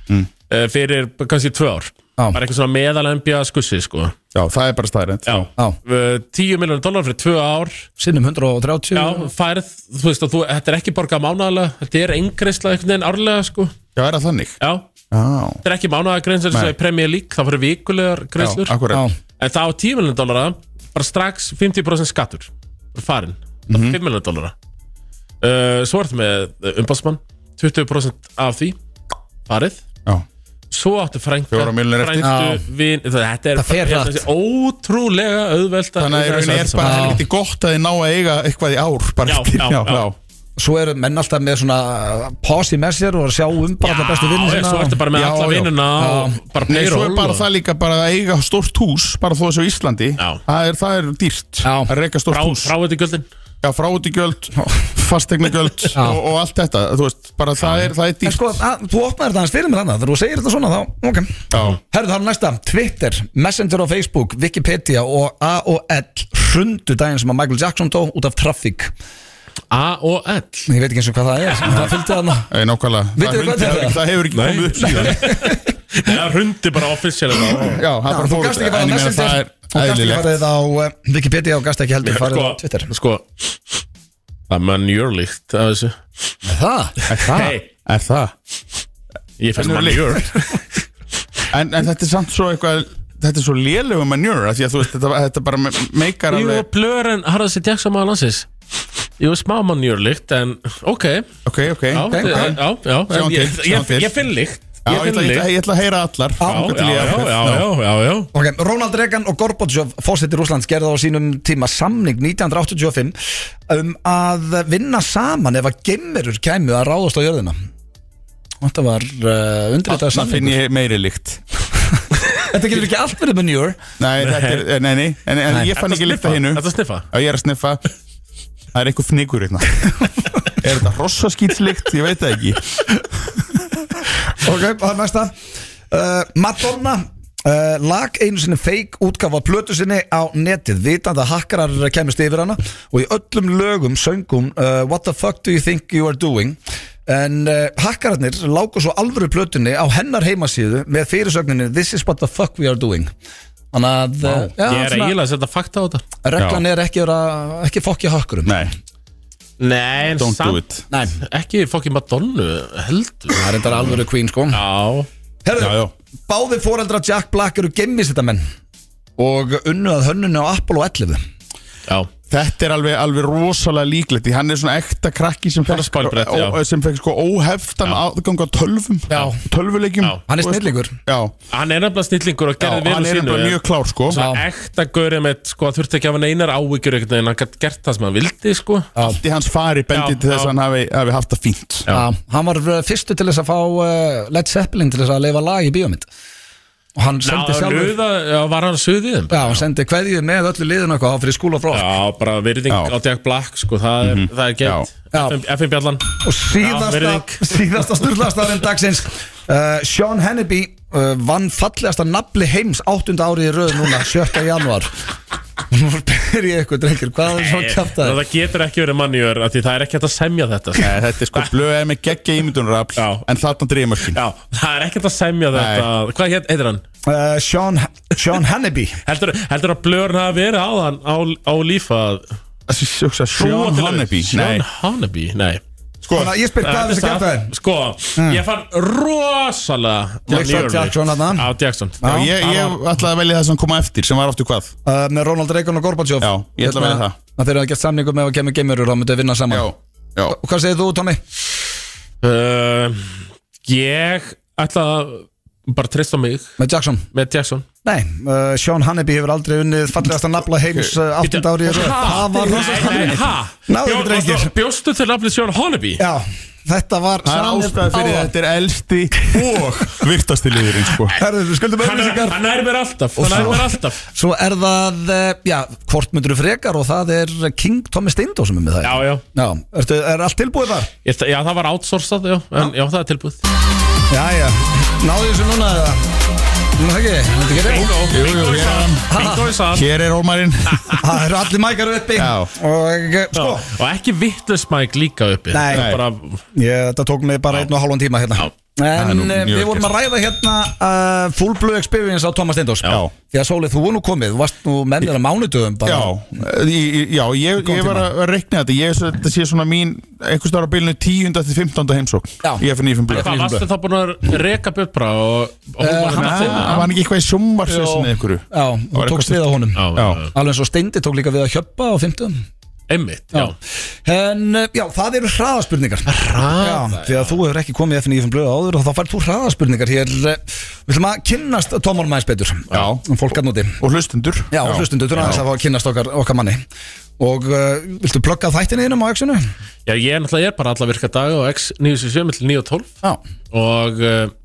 mm. fyrir kannski 2 ár
Já.
bara eitthvað svona meðal NBA-skussi sko.
Já, það er bara staðrænt
Já.
Já.
Eh, 10 miljónir dollara fyrir 2 ár
Sinnum 130
Já, færð, þú veist, og þú, þetta er ekki borgað mánaðalega, þetta er engreisla einhvern veginn árlega, sko,
Já, er það þannig?
já
Já,
þetta er ekki mánaðagreinsla eins og
Nei.
í Premier League, það fyrir vikulegar
já
greislur
akkurat
Já.
En það á 10 miljonar dollara bara strax 50% skattur bara farin, það
Mhm.
er 5 miljonar dollara uh, Svo ertu með umbásmann 20% af því farið,
Já,
svo áttu frænka
Fjórar milljónir eftir.
Já.
frænku, vin, þetta er
Það fer
bara-
hratt.
þessi ótrúlega auðvelt að-
Þannig að í
auðvelt
rauninni er
þessu
bara
Já.
helvítið gott að þið ná að eiga eitthvað í ár bara
Já,
eftir-
já, já.
Svo eru menn alltaf með svona uh, posi með sér og að sjá um bara það bestu vinnu
Já, svo ertu bara með
Já,
alla
já.
vinnuna og bara
Nei, svo
payroll
er bara
og-
það líka bara að eiga stórt hús bara þó þessu á Íslandi
Já.
það er, það er dýrt
Já.
að reyka stórt
frá,
hús
frá þetta guldin
Já, fráutigjöld, fastegnagjöld og, og allt þetta, þú veist, bara það er, það er
En
dýrt
sko, að, þú opnaðir það hans fyrir mér annað Þegar þú segir þetta svona þá, ok
Já.
Herðu það er næsta, Twitter, Messenger á Facebook Wikipedia og AOL Hrundu daginn sem að Michael Jackson dó út af traffic
A og L
Ég veit ekki eins og hvað það er en Það fylgdi þarna
Ei, nákvæmlega
Vitið þið
Það
hvað þetta
hrundi-
er?
Það hefur ekki komið upp síðan
það hrundi bara offisíalega
Já, það
Já,
bara
Þú
fór
gast ekki farið á
en ég meina,
Messenger Þú
Það
gast
er
ekki
eðlilegt
farið á eh, Wikipedia og gast ekki heldur farið á Twitter
sko það er manjörlíkt af þessu
Það?
Er það?
Hey.
Er það?
ég fæst
Manure lykt.
manjör
En, en þetta er samt svo eitthvað Þetta er svo lélegu manjör Því að þú veist, þetta, þetta bara me- meikar
Jú,
alveg
blören Harðarsi Jackson maður landsins Jú, smá mannjör líkt en ok
Ok, ok
Já,
Já,
já, já, já
Sjáum
en ég,
til,
ég,
sjáum til.
ég finn líkt Ég
ég
finn
ætla, ég, ætla,
líkt
ég ætla að heyra allar
Já, já, já, já, já, já, já
Ok, Ronald Reagan og Gorbachev, fósettir Úslands, gerði á sínum tíma samning 1985 um að vinna saman ef að gemmerur kæmu að ráðast á jörðina. Þetta var uh, undrítað
Það finn
samning.
ég meiri líkt
Þetta getur ekki allt verið manjur.
Nei, þetta er, nei, nei En, en ég fann ekki líkt að hinu
Þetta sniffa
Já, ég er að sniffa Það er eitthvað fnigur hérna Er þetta rossaskýtslikt? Ég veit það ekki
Ok, það er næsta. Uh, Madonna. Uh, lag einu sinni fake útgafa plötu sinni á netið, vitandi að hakkarar kemist yfir hana og í öllum lögum söngum uh, What the fuck do you think you are doing en uh, hakkararnir lágu svo alvöru plötunni á hennar heimasíðu með fyrirsögninni This is what the fuck we are doing þannig að uh, já,
Ég er
svona,
eiginlega að setja fakta á þetta
reglan er ekki, að vera, ekki fokki hakkurum
Nei,
Nei, en
don't do
samt
it
Nei,
Ekki fokkin Madonna heldur
það er þetta alvöru queen sko
Já
Herðu,
Já, já.
báði foreldra Jack Black eru gemmisitamenn og unnu að hönnunni á Apollo 11
Já,
Þetta er alveg, alveg rosalega líklegt Því hann er svona ekta krakki sem fekk,
spælbrett, já.
ó- sem fekk sko óheftan aðgang á tölvum
Já.
Tölvuleikjum
Já.
Hann er snillingur
Já,
hann er nefnilega snillingur og
já
gerði
hann
vinnu
er
sínu
bara mjög klár sko
Já.
Ekta gaurið með, sko, þurfti ekki að hafa neinar áhyggjur einhvern veginn, hann gætt gert það sem hann vildi, sko
Allt í hans fari bendi
Já,
til þess
já.
að hann hafi, hafi haft það fínt
Já, hann var uh, fyrstu til þess að fá uh, Led Zeppelin til þess að leifa lag í bíómynd og hann
Ná,
sendi sjálfur
nöða, já, var hann suðið þeim?
Já, hann sendi kveðið með öllu liðinu og eitthvað á fyrir skúla frá
Já, bara virðing
Já.
á Jack Black sko, það er, mm er gett
Mhm. Já.
FM, FM Bjallan
og
Já,
síðasta, síðasta sturðlastaðin dagsins uh, Sean Henneby uh, vann fallegasta nafli heims 8. árið í röð núna 7. januar Nú ber ég eitthvað drengir, hvað er svona kjátt að
það getur ekki verið mannjör því það er ekki hægt að semja þetta sko.
Nei, þetta er sko blöð er með geggja ímyndunarafl
Já.
En þarna drýmörkin
Já, það er ekki hægt að semja þetta Hvað heit, heitir hann?
uh, Sean, Sean Henneby
Heldur, heldur að blörn hafa verið á hann á, á lífa að búa
Sean
til-
Hanneby Nei,
Sean Hanneby, nei
sko
Þannig að ég spyr hvað er þessi Mm.
Þetta-
kjátt að þeim
Sko, ég fann rosalega
Jackson,
manjöru.
Jackson þarna.
Á Jackson
Já, ég, ég ætlaði að velja það sem koma eftir sem var aftur hvað
uh, með Ronald Reagan og Gorbachev
Já, ég ætla að velja það.
Þeir eru að geta samningum með að kemur geimurur og þá myndu að vinna saman
Já, já
Og hvað segir þú, Tommy?
uh, Ég ætla að bara treysta á mig
Með Jackson?
með Jackson
Nei, uh, Sean Hanneby hefur aldrei unnið fallegasta nafla heims uh, 8. árið í röð Það var rosa
Nei, nei, ha?
Náðu
Bjó-
ekki, drengir.
bjó- Bjóstu til nafnið Sjón Honneby?
Já, þetta var
Það er
samið
ástæði fyrir
áðan.
þetta er elsti og virtasti liðurinn sko
Herðu, við skuldum
Hann er-
auðvitað
hann nær mér alltaf Hann nær
svo-
mér alltaf
Svo er það, eh, já, hvort myndur þú frekar og það er King Tommy Steindó sem er með það
Já, já
Já, ertu, er allt tilbúið þar?
Ég, þa- já, það var outsourcað, já En já, það er tilbúið
Já, já, náðu þessu núna eða Núna það ekki, þetta ekki reynd
Bingo, bingo í sann Bingo í sann
Hér er Ómarinn
Það eru allir mækar uppi
Já.
Og eh, sko,
Og ekki vittnesmæk líka uppi
Nei.
Það er bara,
ég, þetta tók mig bara einn og halvan tíma hérna
Já.
Það er nú
En eh,
mjög
við vorum að ræða hérna uh, Full Blue Experience á Thomas Steindós
Já.
Því að Sólið, þú var nú komið, þú varst nú með mér að mánudöfum bara
Já, ég- já ég, ég var að reikna þetta Ég þetta sé svona mín einhvers staðar á bylnu 10. til 15. heimsók
Já.
Ég er fyrir nýfum blöð
hvað varstu það búin að reka bjöpra og, og hún
Eh,
var hérna
hann-
þinn
Það var ekki eitthvað í sjómvarsessinni einhverju
Já, þú
var
tókst við
eitthvað
á honum
Já, já,
Alveg eins og Steindi tók líka við að hjöppa á 50
einmitt, já
En uh, já, það eru hraðaspurningar Hraða? Já, því að þú hefur ekki komið FNF blöða áður og þá færð þú hraðaspurningar Hér, uh, við ætlum að kynnast Tómar Mæns betur
Já.
um Fólk að núti
Og hlustundur
Já, já. hlustundu, þú er aðeins að fá að kynnast okkar, okkar manni Og uh, viltu plugga þættinni innum á X-inu?
Já, ég er náttúrulega ég er bara alla virka daga og x 97 til 9 og 12
Já
og uh,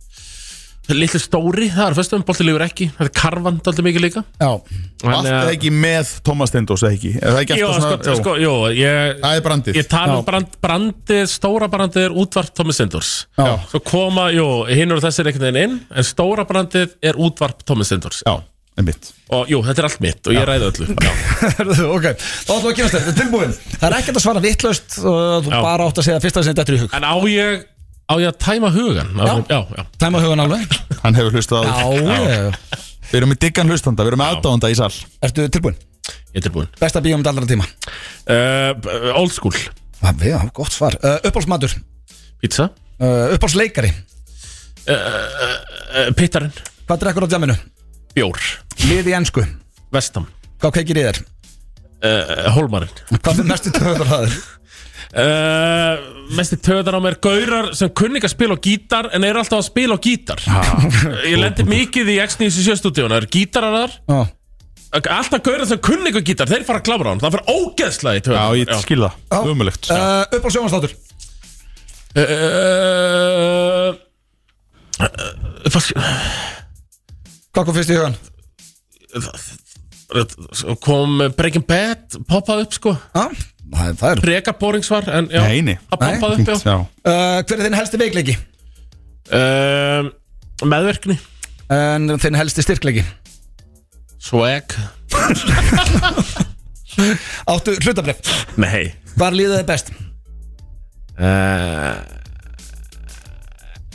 litli stóri, það er fyrstum, boltilífur ekki það er karvand alltaf mikið líka
Já,
Allt
Þannig að-
er ekki með Thomas Stendos, eða ekki? Er það ekki
Jó,
alltaf
sko,
svona-
sko, jó, ég
Það er brandið
Ég tala
Já.
um brand, brandið, stóra brandið er útvarp Thomas Sindors
Já.
Svo koma, jú, hinn eru þessir einhvern veginn inn En stóra brandið er útvarp Thomas Sindors
Já, einmitt
Og jú, þetta er allt mitt og ég ræði öllu Já,
Herðu, ok, þá ætlum við að kynast þér, þetta er tilbúin Það er ekkert að svara vitlaust uh, Þú
Já.
bara átt að segja fyrsta sem þetta er í hug
En á ég, á ég að tæma hugan Já, já, já,
Tæma hugan alveg
Hann hefur hlustað á
Já, já.
Við erum með diggan hlustanda, við erum með aðdáðanda í sall
Ertu tilbúin?
ég er tilbúin
Besta bíómynd allra tíma
uh, Old school,
Ah, Já, gott svar uh, Uppálsmatur,
pizza
uh, uppálsleikari
uh, Pittarinn,
Hvað drekkur á djaminu?
bjór,
Lið í ensku
vestam
Hvað kveikir í þér?
uh, Holmarinn
Hvað er mestu töður að þér?
uh, Mesti töðan á mér Gaurar sem kunni ekki að spila á gítar En eru alltaf að spila á gítar Ég lendi mikið í X97 stúdíun Það eru gítarar þar
Já,
Alltaf gaurar sem kunni ekki á gítar Þeir fara að klára hann Það fyrir ógeðslega í
Já,
töðan
ég skil það Umulegt
uh, Uppálsjónastátur
Eh, uh, eh,
Hvað kom fyrst í hugan?
uh, Kom Breaking Bad Poppað upp sko
Já, það er, það er.
Breka bóringsvar En já,
Nei, nei.
það poppað upp já.
Já,
Uh, Hver er þinn helsti veikleiki?
Uh, Meðverkni
En þinn helsti styrkleiki?
Swag
Áttu hlutabref
Nei
Hvar líða þið best?
uh,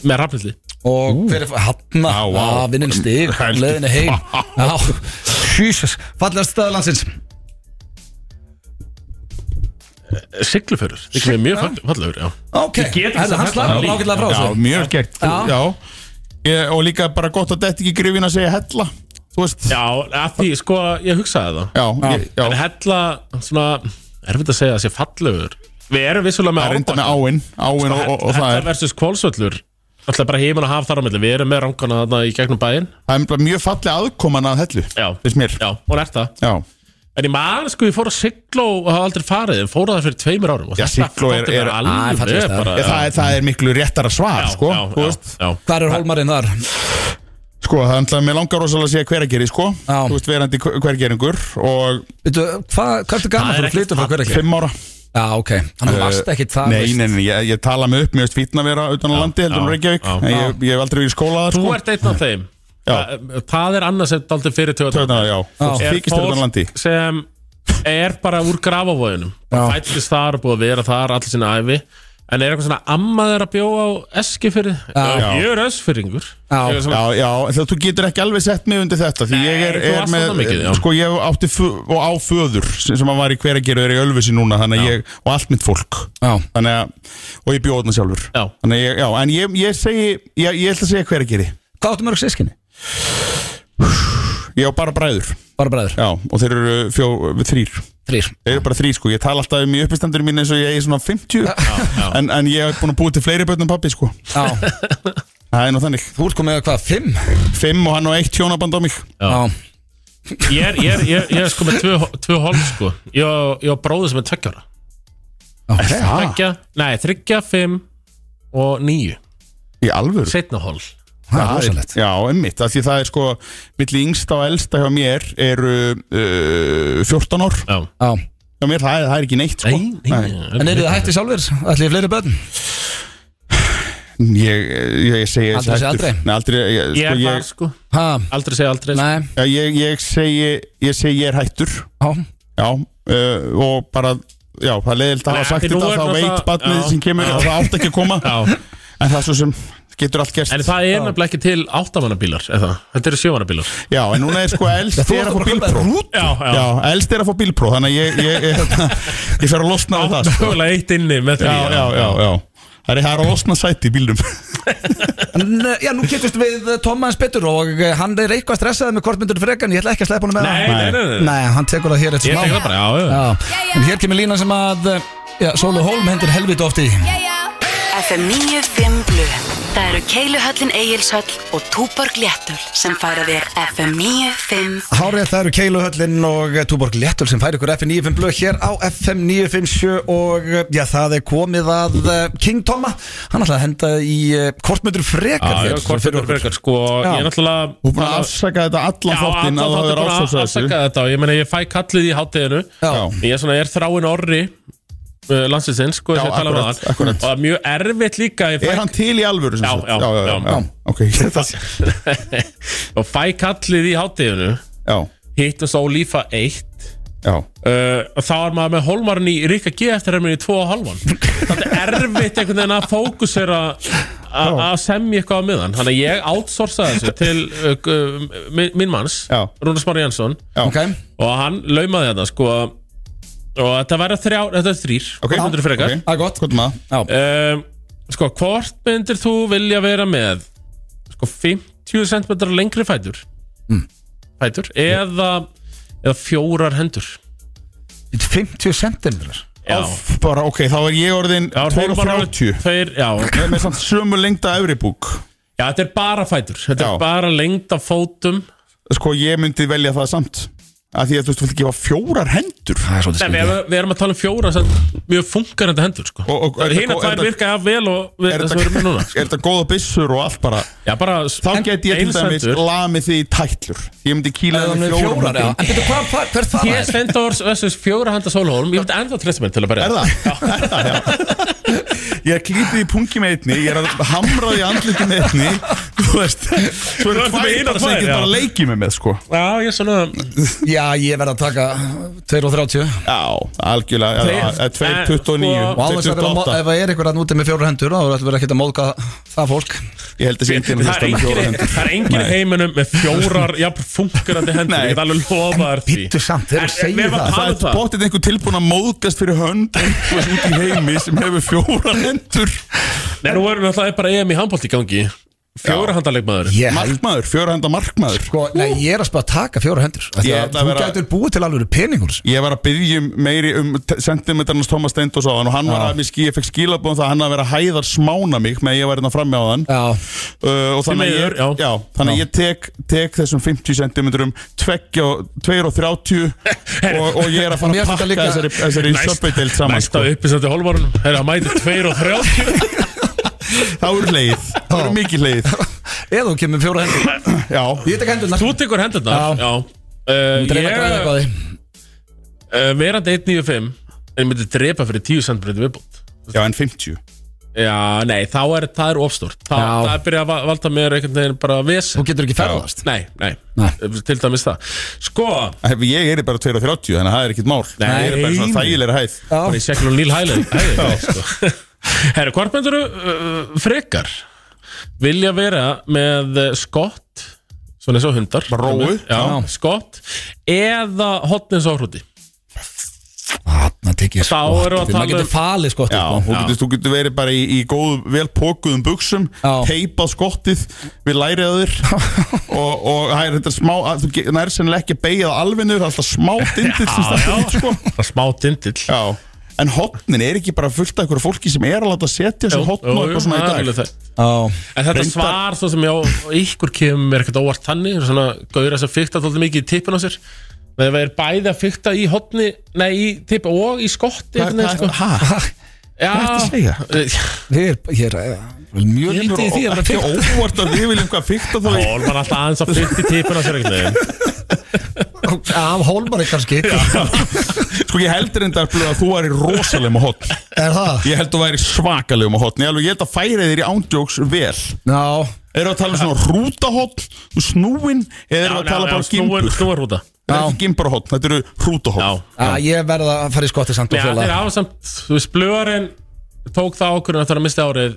Með rafnildi
Og hver er hann
Á,
að
á.
vinnin stig
Helsti.
Leðinni heim Já, Jesus Fallast staðlandsins
Sigluförur, það er mjög fall- fallegur já.
Ok,
Ég get ekki
Herðu, hann
sagt
slagur
það.
ágætlega frá
já
þessu
mjög gert
Já.
Já Ég- Og líka bara gott að þetta ekki grifin að segja hella Þú veist
já, að því, sko, ég hugsaði það
Já, ég- já.
En hella, svona, erfitt að segja að sé fallegur Við erum vissulega
Það
með
er reynda með áinn Áinn og, og, og það
Sko, Hella
er
versus kválsvöllur Það er bara heimin að hafa þar á milli Við erum með rangana þarna í gegnum bæinn
Það er bara mjög falleg aðkoman að hellu
Já,
Fyrst mér
já, hún er það
Já
En ég man, sko, ég fór að sigla og hafa aldrei farið Ég fór að það fyrir tveimur árum og
Já,
þetta
Sigló er-
þótti mér
er-
Æ,
alveg
fallegt staður.
bara-
Ég, það, er, það er miklu réttara svar,
Já,
sko
já,
Þú veist
já, já.
Hvar er holmarinn þar?
Sko, það er alltaf, mér langar rosalega að segja hverageri, sko
Já.
Þú veist, verandi hver- hvergeringur og
Veitu, hvað hva ertu gaman
Það er
fyrir að flytja frá hverja
fimm ára
Já, ok, þannig að þú varst ekkit það
Eh, Nei,
veist.
nei, nei, ég, ég tala mig upp, mér veist fítna að vera utan á landi, heldur en
já,
Reykjavík
já.
En ég, ég hef aldrei verið í skóla þar,
Þú
sko
ert einn af þeim
Já.
Þa- Það er annars sem daldi fyrir töðan
Törnar, Hérna, já,
Já.
þykist þér utan á landi
sem er bara úr grafavóðunum
Já.
Fættist þar og búið að vera þar allir sinna æfi En er eitthvað svona ammaður að bjóa á Eskifyrði?
Já.
Ég er Eskfyrringur
Já.
Ég er svona-
Já, já, þú, þú getur ekki alveg sett mig undir þetta Því ég er,
Nei, þú
er
varst
með,
þarna mikið, já.
sko ég átti fö- og á föður sem sem að var í hverageru er í Ölfusi núna Þannig að ég, og allt mitt fólk
Já,
Þannig að, og ég bjóð þarna sjálfur
Já.
Þannig að ég, já, en ég, ég segi, ég, ég ætla að segja hverageri
hvað áttu mörg sískinni?
Ég á bara bræður,
Bara bræður,
já, og þeir eru fjó, þrýr
þrýr
Þeir eru bara þrý sko, ég tala alltaf um í uppistendur mín eins og ég er svona 50
já.
En, en ég hef búin að búið til fleiri börn en pappi sko
Já,
Það er nú þannig
þú ert komið að hvað, fimm?
Fimm og hann og eitt hjónaband á mig
Já.
Já,
Ég er, ég er, ég er, ég er sko með tvö, tvö hólf sko Ég á- ég á bróður sem er tveggjara
ok
Ah.
Tveggja, nei, þryggja, fimm og níu
Í alvöru
Setna hólf
Það er rosalegt
Já, emmitt, af því það er sko Milli yngsta og elsta hjá mér eru uh, 14 ár
Já
Já,
Hjá mér það er, það er ekki neitt sko
Nei, nei, nei.
en eru þið hætti sjálfur? Ætlið fleiri börn?
Ég, ég, ég segi
Aldrei segja aldrei.
Nei, aldrei ég,
Ég
sko,
er það
ég,
sko
Ha,
Aldrei segja aldrei sko.
nei,
Já, ég, ég segi Ég segi ég er hættur
já,
Já, uh, og bara Já, það er leiðilt að
Nei,
hafa sagt
því nú
þetta
er
Þá
náttúrulega-
veit barnið
Já.
sem kemur
Já.
að það átt ekki að koma
Já
En það er svo sem getur allt gerst
En það er nefnilega ekki til áttamannabílar eða Þetta eru sjómannabílar
Já, en núna er sko elst
þú ert
er að
bara
fá
að kaupa
bílpró
rút
Já,
Já, elst er að fá bílpró Þannig að ég, ég, ég, ég fer að losna á það sko.
Mögulega eitt inni með því
Já, já, já, já Það er það er að losna sæti í bílnum
En, eh, Já, nú getust við Tómas betur og eh, hann er eitthvað stressaði með hvort myndur frekan Ég ætla ekki að sleppa hann með
Nei, nei, nei, nei.
Nei, hann tekur það hér eftir
Ég
smá.
tek það bara, já, já.
Já, en hér kemur lína sem að eh, Já, Sólu Hólm hendur helvit oft í
FM 95 Blu Það eru Keiluhöllin Egilshöll og Túborg Léttul sem færa þér FM 95
Hárið það eru Keiluhöllin og eh, Túborg Léttul sem fær ykkur FM 95 blöð hér á FM 957 og eh, já það er komið að eh, King Toma, hann ætlaði að henda í eh, Kortmyndur frekar
Ah, Já,
hér,
hvort þetta
fyrir
er
okkur.
frekar sko
Já.
Ég er náttúrulega
Þú er búin að afsaka þetta allan þáttinn að það er
að
ásósa
afsaka
þessu
þetta og Ég meina, ég fæ kallið í hátíðinu
Já,
Ég er svona, ég er þráin orri uh, Landsinsins, sko,
Já,
þess að tala um
akkurat,
það
akkurat.
Og það er mjög erfitt líka ég fæ-
Er hann til í alvöru? sem
Já,
sagt?
já,
já,
já.
já. Ok, það sé
Og fæ kallið í hátíðinu
Já,
Hittast á lífa 1
já
Uh, og þá er maður með holmarinn í Ríka G eftir er minni í 2,5 þannig er erfitt einhvern veginn að fókusera a- að semja eitthvað á miðan þannig að ég outsourcaði þessu til uh, uh, minn- minn manns,
Já.
Rúnar Smári Jansson
já.
ok
og hann laumaði þetta sko og þetta verða þrjá, þetta er þrýr
Ok,
okay. myndir frekar
ok.
það er gott
Hvað er maður?
Já,
um, sko, hvort myndir þú vilja vera með sko 50 cm lengri fætur
Hmm.
fætur eða, eða fjórar hendur
50 centimetrar
Já.
Óff, Bara, ok, þá er ég orðin
Já, þeir bara-
2.30
Þeir, já,
Ég er með samt sömu lengda efri búk
já, þetta er bara fætur Þetta
Já.
er bara lengd af fótum
Sko, ég myndi velja það samt Af því að þú veist, þú vilt ekki hafa fjórar hendur
Það er svolítið
Nei, við,
skrítið
við erum að tala um fjóra sem mjög funkarandi hendur sko.
Og- og- er
Hina
þetta-
tvær
er þetta-
virka jafn vel og við,
Er
þess að við erum með núna sko.
er þetta góða byssur og allt bara
Já, bara
Þá get ég til
eins
dæmis
hendur.
lamið því í tætlur Ég myndi kýla
Það er
því
með fjórar, já En betur hvað, hvað- hvert það
Ég Steindors versus fjóra handa Sólhólm Ég veit ennþá treysta mér til að byrja
Er það? Er það, já Ég er klítið í pungi með einni Ég er að hamra því andliti með einni Þú veist Svo
Þú
eru
ert með
tvær
hinar
bara sem
tvær,
ég get
já.
bara leikið með með sko
Já, ég er svona
Já, ég verð að taka 2.30
Já, algjörlega
Þeir-
já, það er
Eh,
2.29
Og alveg sem
2.28
ef það er einhverjan úti með fjórar hendur þá er alltaf verið ekkert að móðka það fólk
Ég held að sé enginn að
Það
hlusta
er
með fjóra
engin,
hendur
það er engin í heiminum með fjórar jafn funkarandi hendur
Nei.
Ég get alveg lofaðar því
Bittu samt, þeir eru að
En- en
segja
mér var
það
talað
Það
um
er bóttið einhver tilbúin að móðgast fyrir hönd einhvers út í heimi sem hefur fjóra hendur sko.
Nei, nú erum við alltaf bara EM í handbólt í gangi Fjóra handa leikmaður
Ég held
Markmaður, fjóra henda markmaður
Sko, nei, ég er að spara að taka fjóra hendur Af því
Ég
að
ætla
Þú
að vera-
gætur búið til alveg peningur sko. þessu.
Ég var að byggjum meiri um sentimentarnas Thomas Steindós á hann og hann var að mér skí, ég fekk skilabóðum það að hann að vera að hæðar smána mig með að ég var hérna frammi á hann uh,
Já,
og þannig að
miður,
ég,
já.
já, þannig að ég tek, tek þessum 50 sentimenturum 2 og 30 og, og ég er að fara
Mér finnst þetta
að pakka
líka-
þessari, þessari söpbeidelt saman
Næsta
sko.
uppisandi hólmárunum Það er að mæta 2 og 30
Það voru leið, það voru mikið leið
Eða þú kemur með fjóra hendur
Já,
Ég tek hendurna
Þú tekur hendurnar
Já.
Já Uh,
Ég dreif að græða
ég,
eitthvað á því
uh, verandi 1.95 en ég myndi drepa fyrir 10 cm viðbútt
já en 50
Já, nei, þá er það er ofstort Þa,
Já.
Það er byrjað að va- valda mér einhvern veginn bara vesen
Þú getur ekki ferðast
Nei, nei,
Nei.
til dæmis það Sko,
Ef Ég er bara 230 þannig að það er ekkit mál
Nei.
Ég er bara í svona þægilega hæð
bara í seglum Níl Hæland sko. Herru, hvort myndur uh, frekar vilja vera með eh, skott svona eins og hundar
Róu.
Já, skott eða hotn eins og hrúti
Þarna tek ég
Þá erum við að tala
Maður
um-
getur falið sko
Já, þú getur, þú getur verið bara í, í góðum, vel pókuðum buksum
Já.
teipað skottið við lærið á þér og, og það er þetta smá að, þú ge- nær sennilega ekki að beigja það alveg niður það er alltaf smá dindill sem stendur út sko.
Það er smá dindill
Já, en hotnin er ekki bara fullt af einhverju fólki sem er að láta setja sér hotn og eitthvað svona í dag
dag
Já
En þetta
Reyndar-
svar svo sem ég á ykkur kemur mér ekkert óvart þannig, svona gauðra sem fykta tóldi mikið í tippin á sér þegar það er bæði að fykta í hotni nei, í tippi og í skotti
Hvað- hvað-
sko.
Ha?
Já,
hvað ertu að segja?
Ég er, ég er eh, mjög lítið í því að vera
Ekki
fyrst
óvart að við viljum hvað fyrta þá í
Hólmar alltaf aðeins að fykta í tippin á sér einhvern veginn.
Af hólmari kannski
Sko ég heldur enda að þú væri rosalega með hotn
Er það?
Ég held að þú væri svakalega með hotn Ég alveg- ég held að færi þér í ándjóks vel
Já
Eru að tala um svona rútahotn Snúin Eða eru að
Já,
tala
já,
bara
já, snúin-
gimbur
Snúarhrúta
Það er ekki gimburhotn, þetta eru
Já,
rútahotn
Já, ég verða að fara í skotti samt
Nei,
og
það er
fjóla
ásamt Þú veist, blöðarinn tók það ákvörðun að það er að mista árið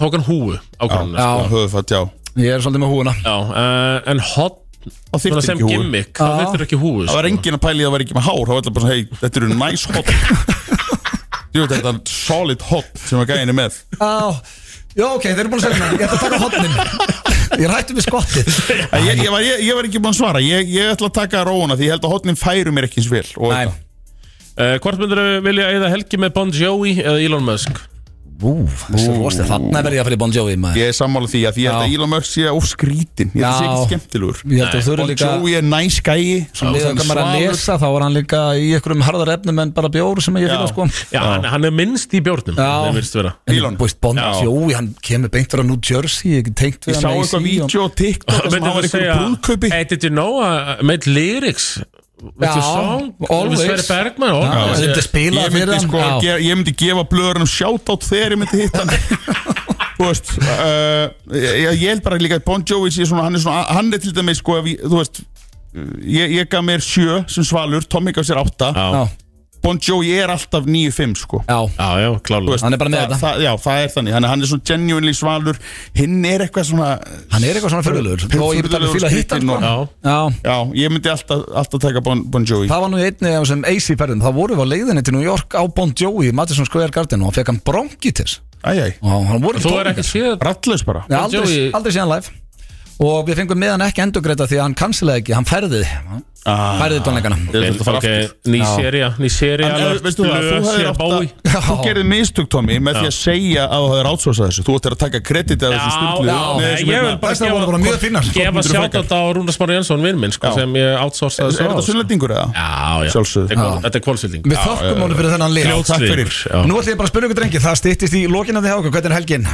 tók hann húu ákvörðun
Já.
Já,
Það höfðu fætt, já
Ég er svolítið með húuna
eh, en hotn
Það
svona
þyrfti
sem
ekki húi
gimmick, þá
Já.
þurftur ekki húu
Það var engin að pæli að það var ekki með hár Það var alltaf bara svona, hei, þetta eru næs hotn Jú, þetta er solid hotn sem að gæðin er með
Já, já ok, þeir eru búin að segja mér Ég ætla að taka hotnin Ég rættu við skottið
Æ, ég, ég, var, ég, ég var ekki búin að svara Ég, ég ætla að taka róuna því ég held að hotnin færu mér ekki eins vel og
Nei,
þetta.
Uh, hvort myndur þau vilja eða helgi með Bon Jovi eða Elon Musk?
ú, þessi rosti Þannig verði ég að fara í Bon Jovi maður
Ég er sammála því að því ég held
Já.
að Elon Musk sé of skrítin Ég held að sé
Já.
ekki skemmtilugur
Ég held að þú eru
Og
líka
Joey er næs gæi
Leðan
Svona-
hvað maður er að
svalur.
lesa Þá var hann líka í einhverjum harðar efnum En bara bjóru sem ég fíla
Já.
sko
Já, hann, hann er minnst í bjórnum
Já.
Það virðist vera
En
Elon.
Búist Bon
Já.
Jovi, hann kemur beint frá New Jersey Ég tengt
Ég
við
sá
hann
eitthvað vídeo og TikTok þar sem hann var eitthvað brúðkaupi
Hey, did you know I made lyrics with
Já,
your song?
always.
Sveri Bergman
Já,
always.
Ah, þetta er spilað
Ég
fyrir
myndi,
hann,
sko,
já.
ge ég myndi gefa blöðurinnum shoutout þegar ég myndi hitta hann Þú veist uh, ég, ég held bara líka að Bon Jovi sé svona, hann er svona, hann er til dæmis sko, ef ég, þú veist Ég, ég gaf mér sjö sem svalur, Tommy gaf sér átta
Já,
Já,
Bon Jovi er alltaf 9-5 sko
já,
já, já klálega
hann er bara með
það,
þetta
það, Já, það er þannig, hann, hann er svona genuinely svalur Hinn er eitthvað svona
Hann er eitthvað svona fyrirlegur Og ég myndi alveg fíla að hitta hann,
Já,
Já,
sko Já,
já ég myndi alltaf, alltaf taka Bon, bon Jovi
Það var nú í einni af þessum AC ferðin Það voru við á leiðinni til New York á Bon Jovi í Madison Square Garden og hann fekk hann bronkitis
Æjæj,
og hann voru
þú er ekki
tónleikar.
séð
rattlaus bara
Nei,
Bon
aldrei,
Jovi-
aldrei síðan live og við fengum með hann ekki endurgreita því að hann kansilega ekki, hann færði
Ah.
færði tónleikana
Ég ætla að fara
Ok,
aftur.
ný
Já.
seria Ný seria
En, eh, veistu það, þú hefðir átt að
Já.
Þú gerði mistök, Tommy, með því að segja að þú hefðir átsvásað þessu Þú ættir að taka kredit að þessu
Já,
stundlu
já, ég
hérna.
vil bara
Þessar voru bara mjög fínar.
Gefa sjátt á þetta á Rúnar Smári Jensson vinn minn sko,
Já.
sem ég outsourcaði
Er
svo á,
þetta
sko.
sunnlendingur eða?
Já, já
Sjálfsögðu.
Þetta er kvál- Þetta er kválsvilding
Við þökkum honum fyrir þennan lið
Fljótslegur. takk fyrir.
Fljótslegur
Nú ætlum ég bara að spyrja ykkur drengi, það stýttist í lokinu því háka, hvernig er helgin?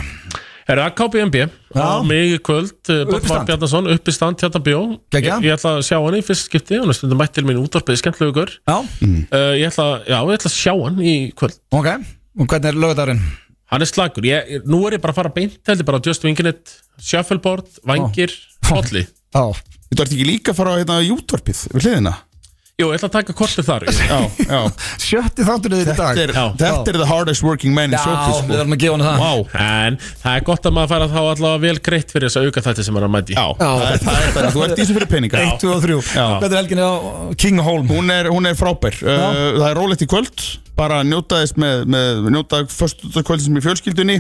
Er það KBMB á mig í kvöld Bóttmar
Uppistand.
Bjarnason, uppistand hérna bjó ég,
Geggjað.
ég ætla að sjá hann í fyrst skipti hún er stundum mætt til mín útvarpið, skemmtlegur
Já,
uh, ég, ætla, já, ég ætla að sjá hann í kvöld
Mm. ok, og hvernig er lögadagurinn?
Hann er slagur, ég, ég- nú er ég bara að fara beint heldur bara á Just Winginit, Shuffleboard Vangir, Holli
Já,
Þú ert ekki líka að fara á hérna í útvarpið við hliðina?
Jú, ég ætla að taka kortið þar
Já, já
sjötti þáttur í dag
Þetta er,
Já.
þetta er the hardest working man
Já,
in showbiz
við
sko.
verðum að gefa hann það
Vá.
En það er gott að maður færa þá allavega vel greitt fyrir þess að auka þetta sem hann er að mæti
Já, það er- það er það Þú ert í þessu fyrir peninga
1, 2 og 3
Já.
Hvernig er helgin á King Holm?
Hún er, hún er frábær uh, Það er rólegt í kvöld Bara njótaðist með, með njótaði föstudagskvöld sem í fjölskyldunni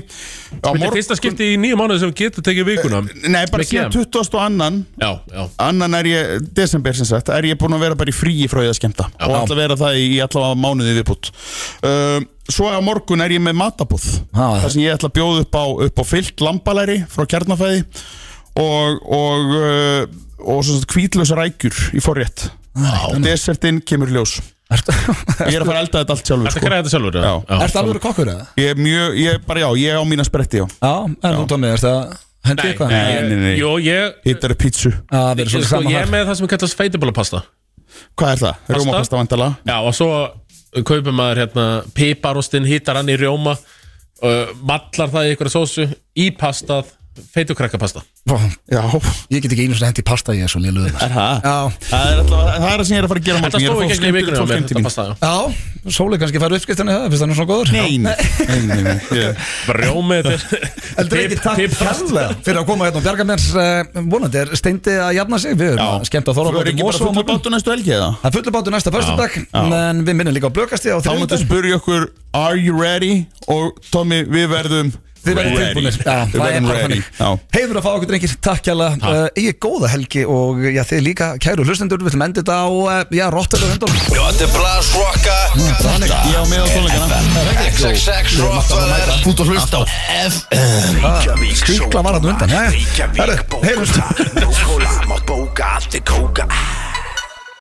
Á
Þetta er fyrsta skipti í nýju mánuði sem getur tekið vikuna
Eh, Nei, bara
Með
síðan
GM.
22.
Já, já
annan er ég, desember sem sagt er ég búinn að vera bara í fríi frá ég að skemmta og ætla að vera það í, í allavega mánuði viðbútt um, svo á morgun er ég með matabúð
Já.
þar sem ég ætla að bjóða upp á, upp á fyllt lambalæri frá kjarnafæði og og, uh, og svo kvítlösa rækjur í forrétt og desertinn kemur í ljós ég er að fara að elda þetta allt sjálfur
Þetta
sko.
græði þetta sjálfur
Já.
Ertu alveg kokkur eða?
ég er mjög, ég, bara já, ég er á mína spretti já
Já, en þú tómið, ertu að Hendi eitthvað?
nei,
Nei, nei, nei.
Jú, ég
Hittar upp pítsu
Að það verður
Ég,
svolítið
sko,
saman
ég er
þar
með það sem kallast feitibólapasta
Hvað er það? Rjómapasta vandala
Já, og svo kaupir maður hérna piparostinn, hýtar hann í rjóma uh, mallar það í ykkur sósu í pastað, feitukrakkapasta
Já
Ég get ekki einu svona hendi pasta ég er svo lélugur
Er það?
Já,
Það er alltaf, það er það sem ég er að fara að gera á
Þetta
morgun. Ég er að
stóð
fá
ekki í
skemmtilegt
vikunum á
fólk heim
mér,
til
þetta
mín.
pastaði já.
já Sóli kannski fær uppskriftinni það, finnst það nú svona góður
Nei, nei, nei, nei, nei. Ég-
Bara rjómið þetta
Eldur ekki, takk kærlega fyrir að koma hérna og bjarga mér uh, vonandi er steindi að jafna sig við erum
Já.
skemmt að þóra
Þú er ekki bara fullur bátu næstu helgi eða?
Það er fullu bátu næsta föstudag
já.
en við minnum líka á blökasti á
Þá mættu
þriðjudaginn
spyrja okkur Are you ready? Og Tommy, við verðum
Þið verðum tilbúinir Já,
Við
það er
verðum
bara
ready.
þannig
Já.
Heiður að fá okkur drengir, takk kjærlega uh, Ég er góða helgi og já, þið líka kæru hlustendur Við ætlum endið þetta á, uh, já, Rotterdam hundum
Þetta er Blas Rocka
Þannig
Ég á með á tónleikana
XXX Rottweiler Út og hlusta á FM
Skrýkla var hann undan, já, já. Herru,
Reykjavík
heyrumst.
bóka Nóskóla mátt bóka Allt er kóka